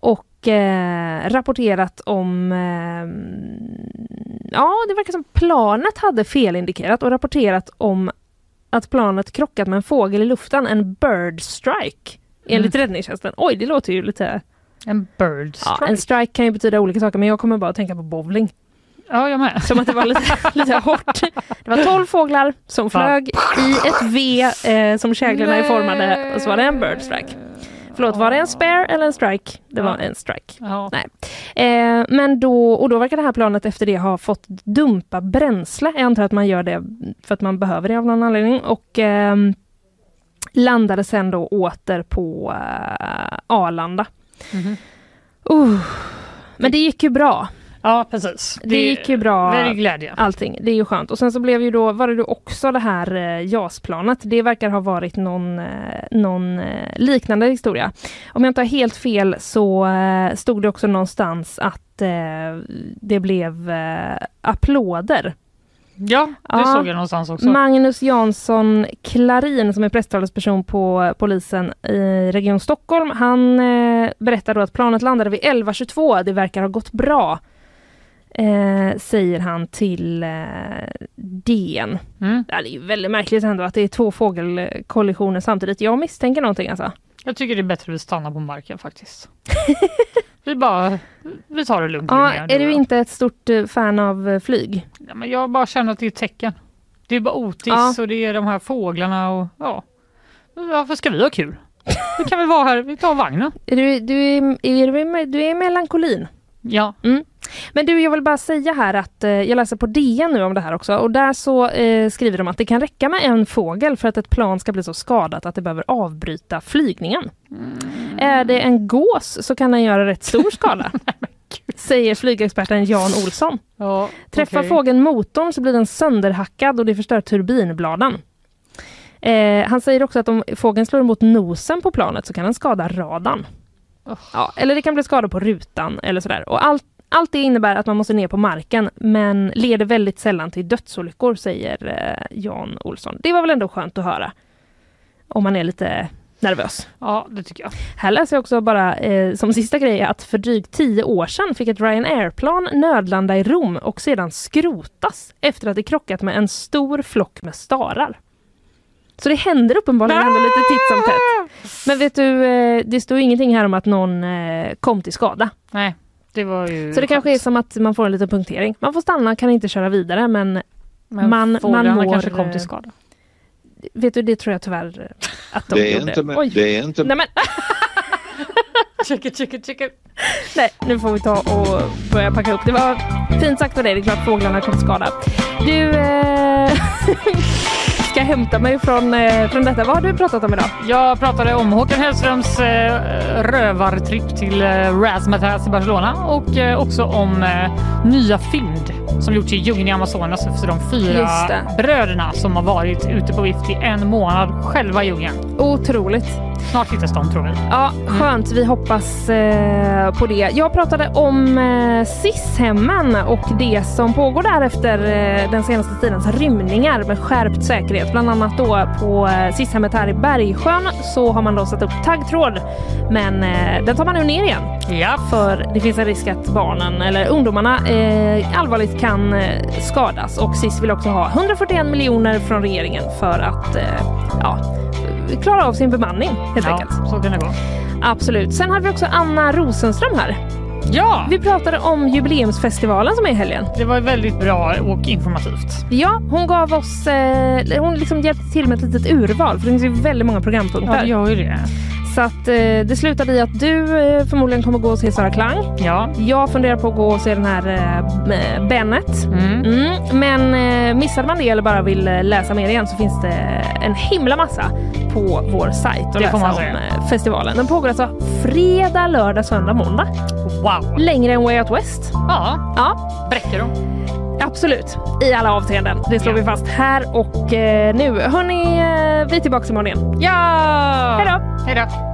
och eh, rapporterat om eh, Ja, det verkar som planet hade felindikerat och rapporterat om att planet krockat med en fågel i luften, en bird strike. Enligt Mm. räddningstjänsten. Oj, det låter ju lite... En bird Ja, strike. en strike kan ju betyda olika saker men jag kommer bara att tänka på bowling. Ja, jag med. Som att det var lite, lite hårt. Det var 12 fåglar som flög i ett V eh, som käglorna är formade och så var det en bird strike. Förlåt, var det en spare eller en strike? Det var en strike. Ja. Nej. Eh, men då, och då verkar det här planet efter det ha fått dumpa bränsle. Jag antar att man gör det för att man behöver det av någon anledning. Och ehm, landade sen då åter på Mhm. eh, Arlanda. Uh, men det gick ju bra. Ja, precis. Det gick ju bra. Det är glädje. allting. Det är ju skönt. Och sen så blev ju då, var det ju också det här eh, JAS-planet. Det verkar ha varit någon, eh, någon eh, liknande historia. Om jag inte har helt fel så eh, stod det också någonstans att eh, det blev eh, applåder. Ja, det Ja. såg jag någonstans också. Magnus Jansson Klarin som är presstalesperson på polisen i Region Stockholm. Han eh, berättar då att planet landade vid 11.22. Det verkar ha gått bra. Eh, säger han till eh, DN. Mm. Ja, det är ju väldigt märkligt ändå att det är två fågelkollisioner samtidigt. Jag misstänker någonting alltså. Jag tycker det är bättre att vi stannar på marken faktiskt. vi bara, vi tar det lugnt. Ja, Linnea, är och du jag. inte ett stort eh, fan av eh, flyg? Ja, men jag bara känner att det är ett tecken. Det är bara Otis Ja. och det är de här fåglarna och ja. Varför ska vi ha kul? Vi kan väl vara här, vi tar vagnen. Är du, du, är, är du, du är melankolin. Ja. Men du, jag vill bara säga här att eh, jag läser på DN nu om det här också och där så eh, skriver de att det kan räcka med en fågel för att ett plan ska bli så skadat att det behöver avbryta flygningen. Är det en gås så kan den göra rätt stor skada. Säger flygexperten Jan Olsson. ja Träffar okej. fågeln motorn så blir den sönderhackad och det förstör turbinbladen. Eh, han säger också att om fågeln slår emot nosen på planet så kan den skada radarn. Ja, eller det kan bli skador på rutan eller sådär. Och allt, allt det innebär att man måste ner på marken men leder väldigt sällan till dödsolyckor säger eh, Jan Olsson. Det var väl ändå skönt att höra. Om man är lite nervös. Ja, det tycker jag. Här läser jag också bara eh, som sista grej att för drygt tio år sedan fick ett Ryanair-plan nödlanda i Rom och sedan skrotas efter att det krockat med en stor flock med starar. Så det händer uppenbarligen ändå lite titt som tätt. Men vet du, eh, det står ju ingenting här om att någon eh, kom till skada. Nej, det var ju... Så det kanske är som att man får en liten punktering. Man får stanna, kan inte köra vidare men Men man- fåglarna man mår, kanske kom till eh, skada. vet du, det tror jag tyvärr eh, att de Det är gjorde. inte, med, Oj. det är inte Nej, men, Checka, checka, checka. Nej, nu får vi ta och börja packa upp. Det var fint sagt av dig. Det är klart fåglarna kom till skada. Du eh, ska hämta mig från, eh, från detta. Vad har du pratat om idag? Jag pratade om Håkan Hellströms eh, rövartripp till eh, Razzmatazz i Barcelona och eh, också om eh, nya fynd som gjorts i djungeln i Amazonas efter de fyra Just det. bröderna som har varit ute på vift i en månad själva i djungeln. Otroligt. Snart hittas de tror vi. Ja, skönt. Vi hoppas eh, på det. Jag pratade om eh, SIS-hemmen och det som pågår där efter eh, den senaste tidens rymningar med skärpt säkerhet. Bland annat då på eh, SIS-hemmet här i Bergsjön så har man då satt upp taggtråd men eh, den tar man nu ner igen. Ja. för det finns en risk att barnen eller ungdomarna eh, allvarligt kan eh, skadas och SIS vill också ha 141 miljoner från regeringen för att eh, ja, klara av sin bemanning helt Ja, enkelt. så kan det gå. Absolut. Sen hade vi också Anna Rosenström här. Ja, Vi pratade om jubileumsfestivalen som är i helgen. det var väldigt bra och informativt. Ja, hon gav oss, eh, hon liksom hjälpte till med ett litet urval för det finns ju väldigt många programpunkter. Ja, det gör ju det. Så att eh, det slutade i att du eh, förmodligen kommer gå och se Sara Klang. Ja. Jag funderar på att gå och se den här eh, Bennet. Mm. Mm, men eh, missade man det eller bara vill eh, läsa mer igen så finns det en himla massa på vår sajt att Det får läsa man om säga. eh, festivalen. Den pågår alltså fredag, lördag, söndag, måndag. Wow. Längre än Way Out West. Ja, Ja, bräcker de. absolut. I alla avseenden. Det slår vi fast här och eh, nu. Hörni, eh, vi är tillbaka imorgon igen. Ja! Hej då! Hej då.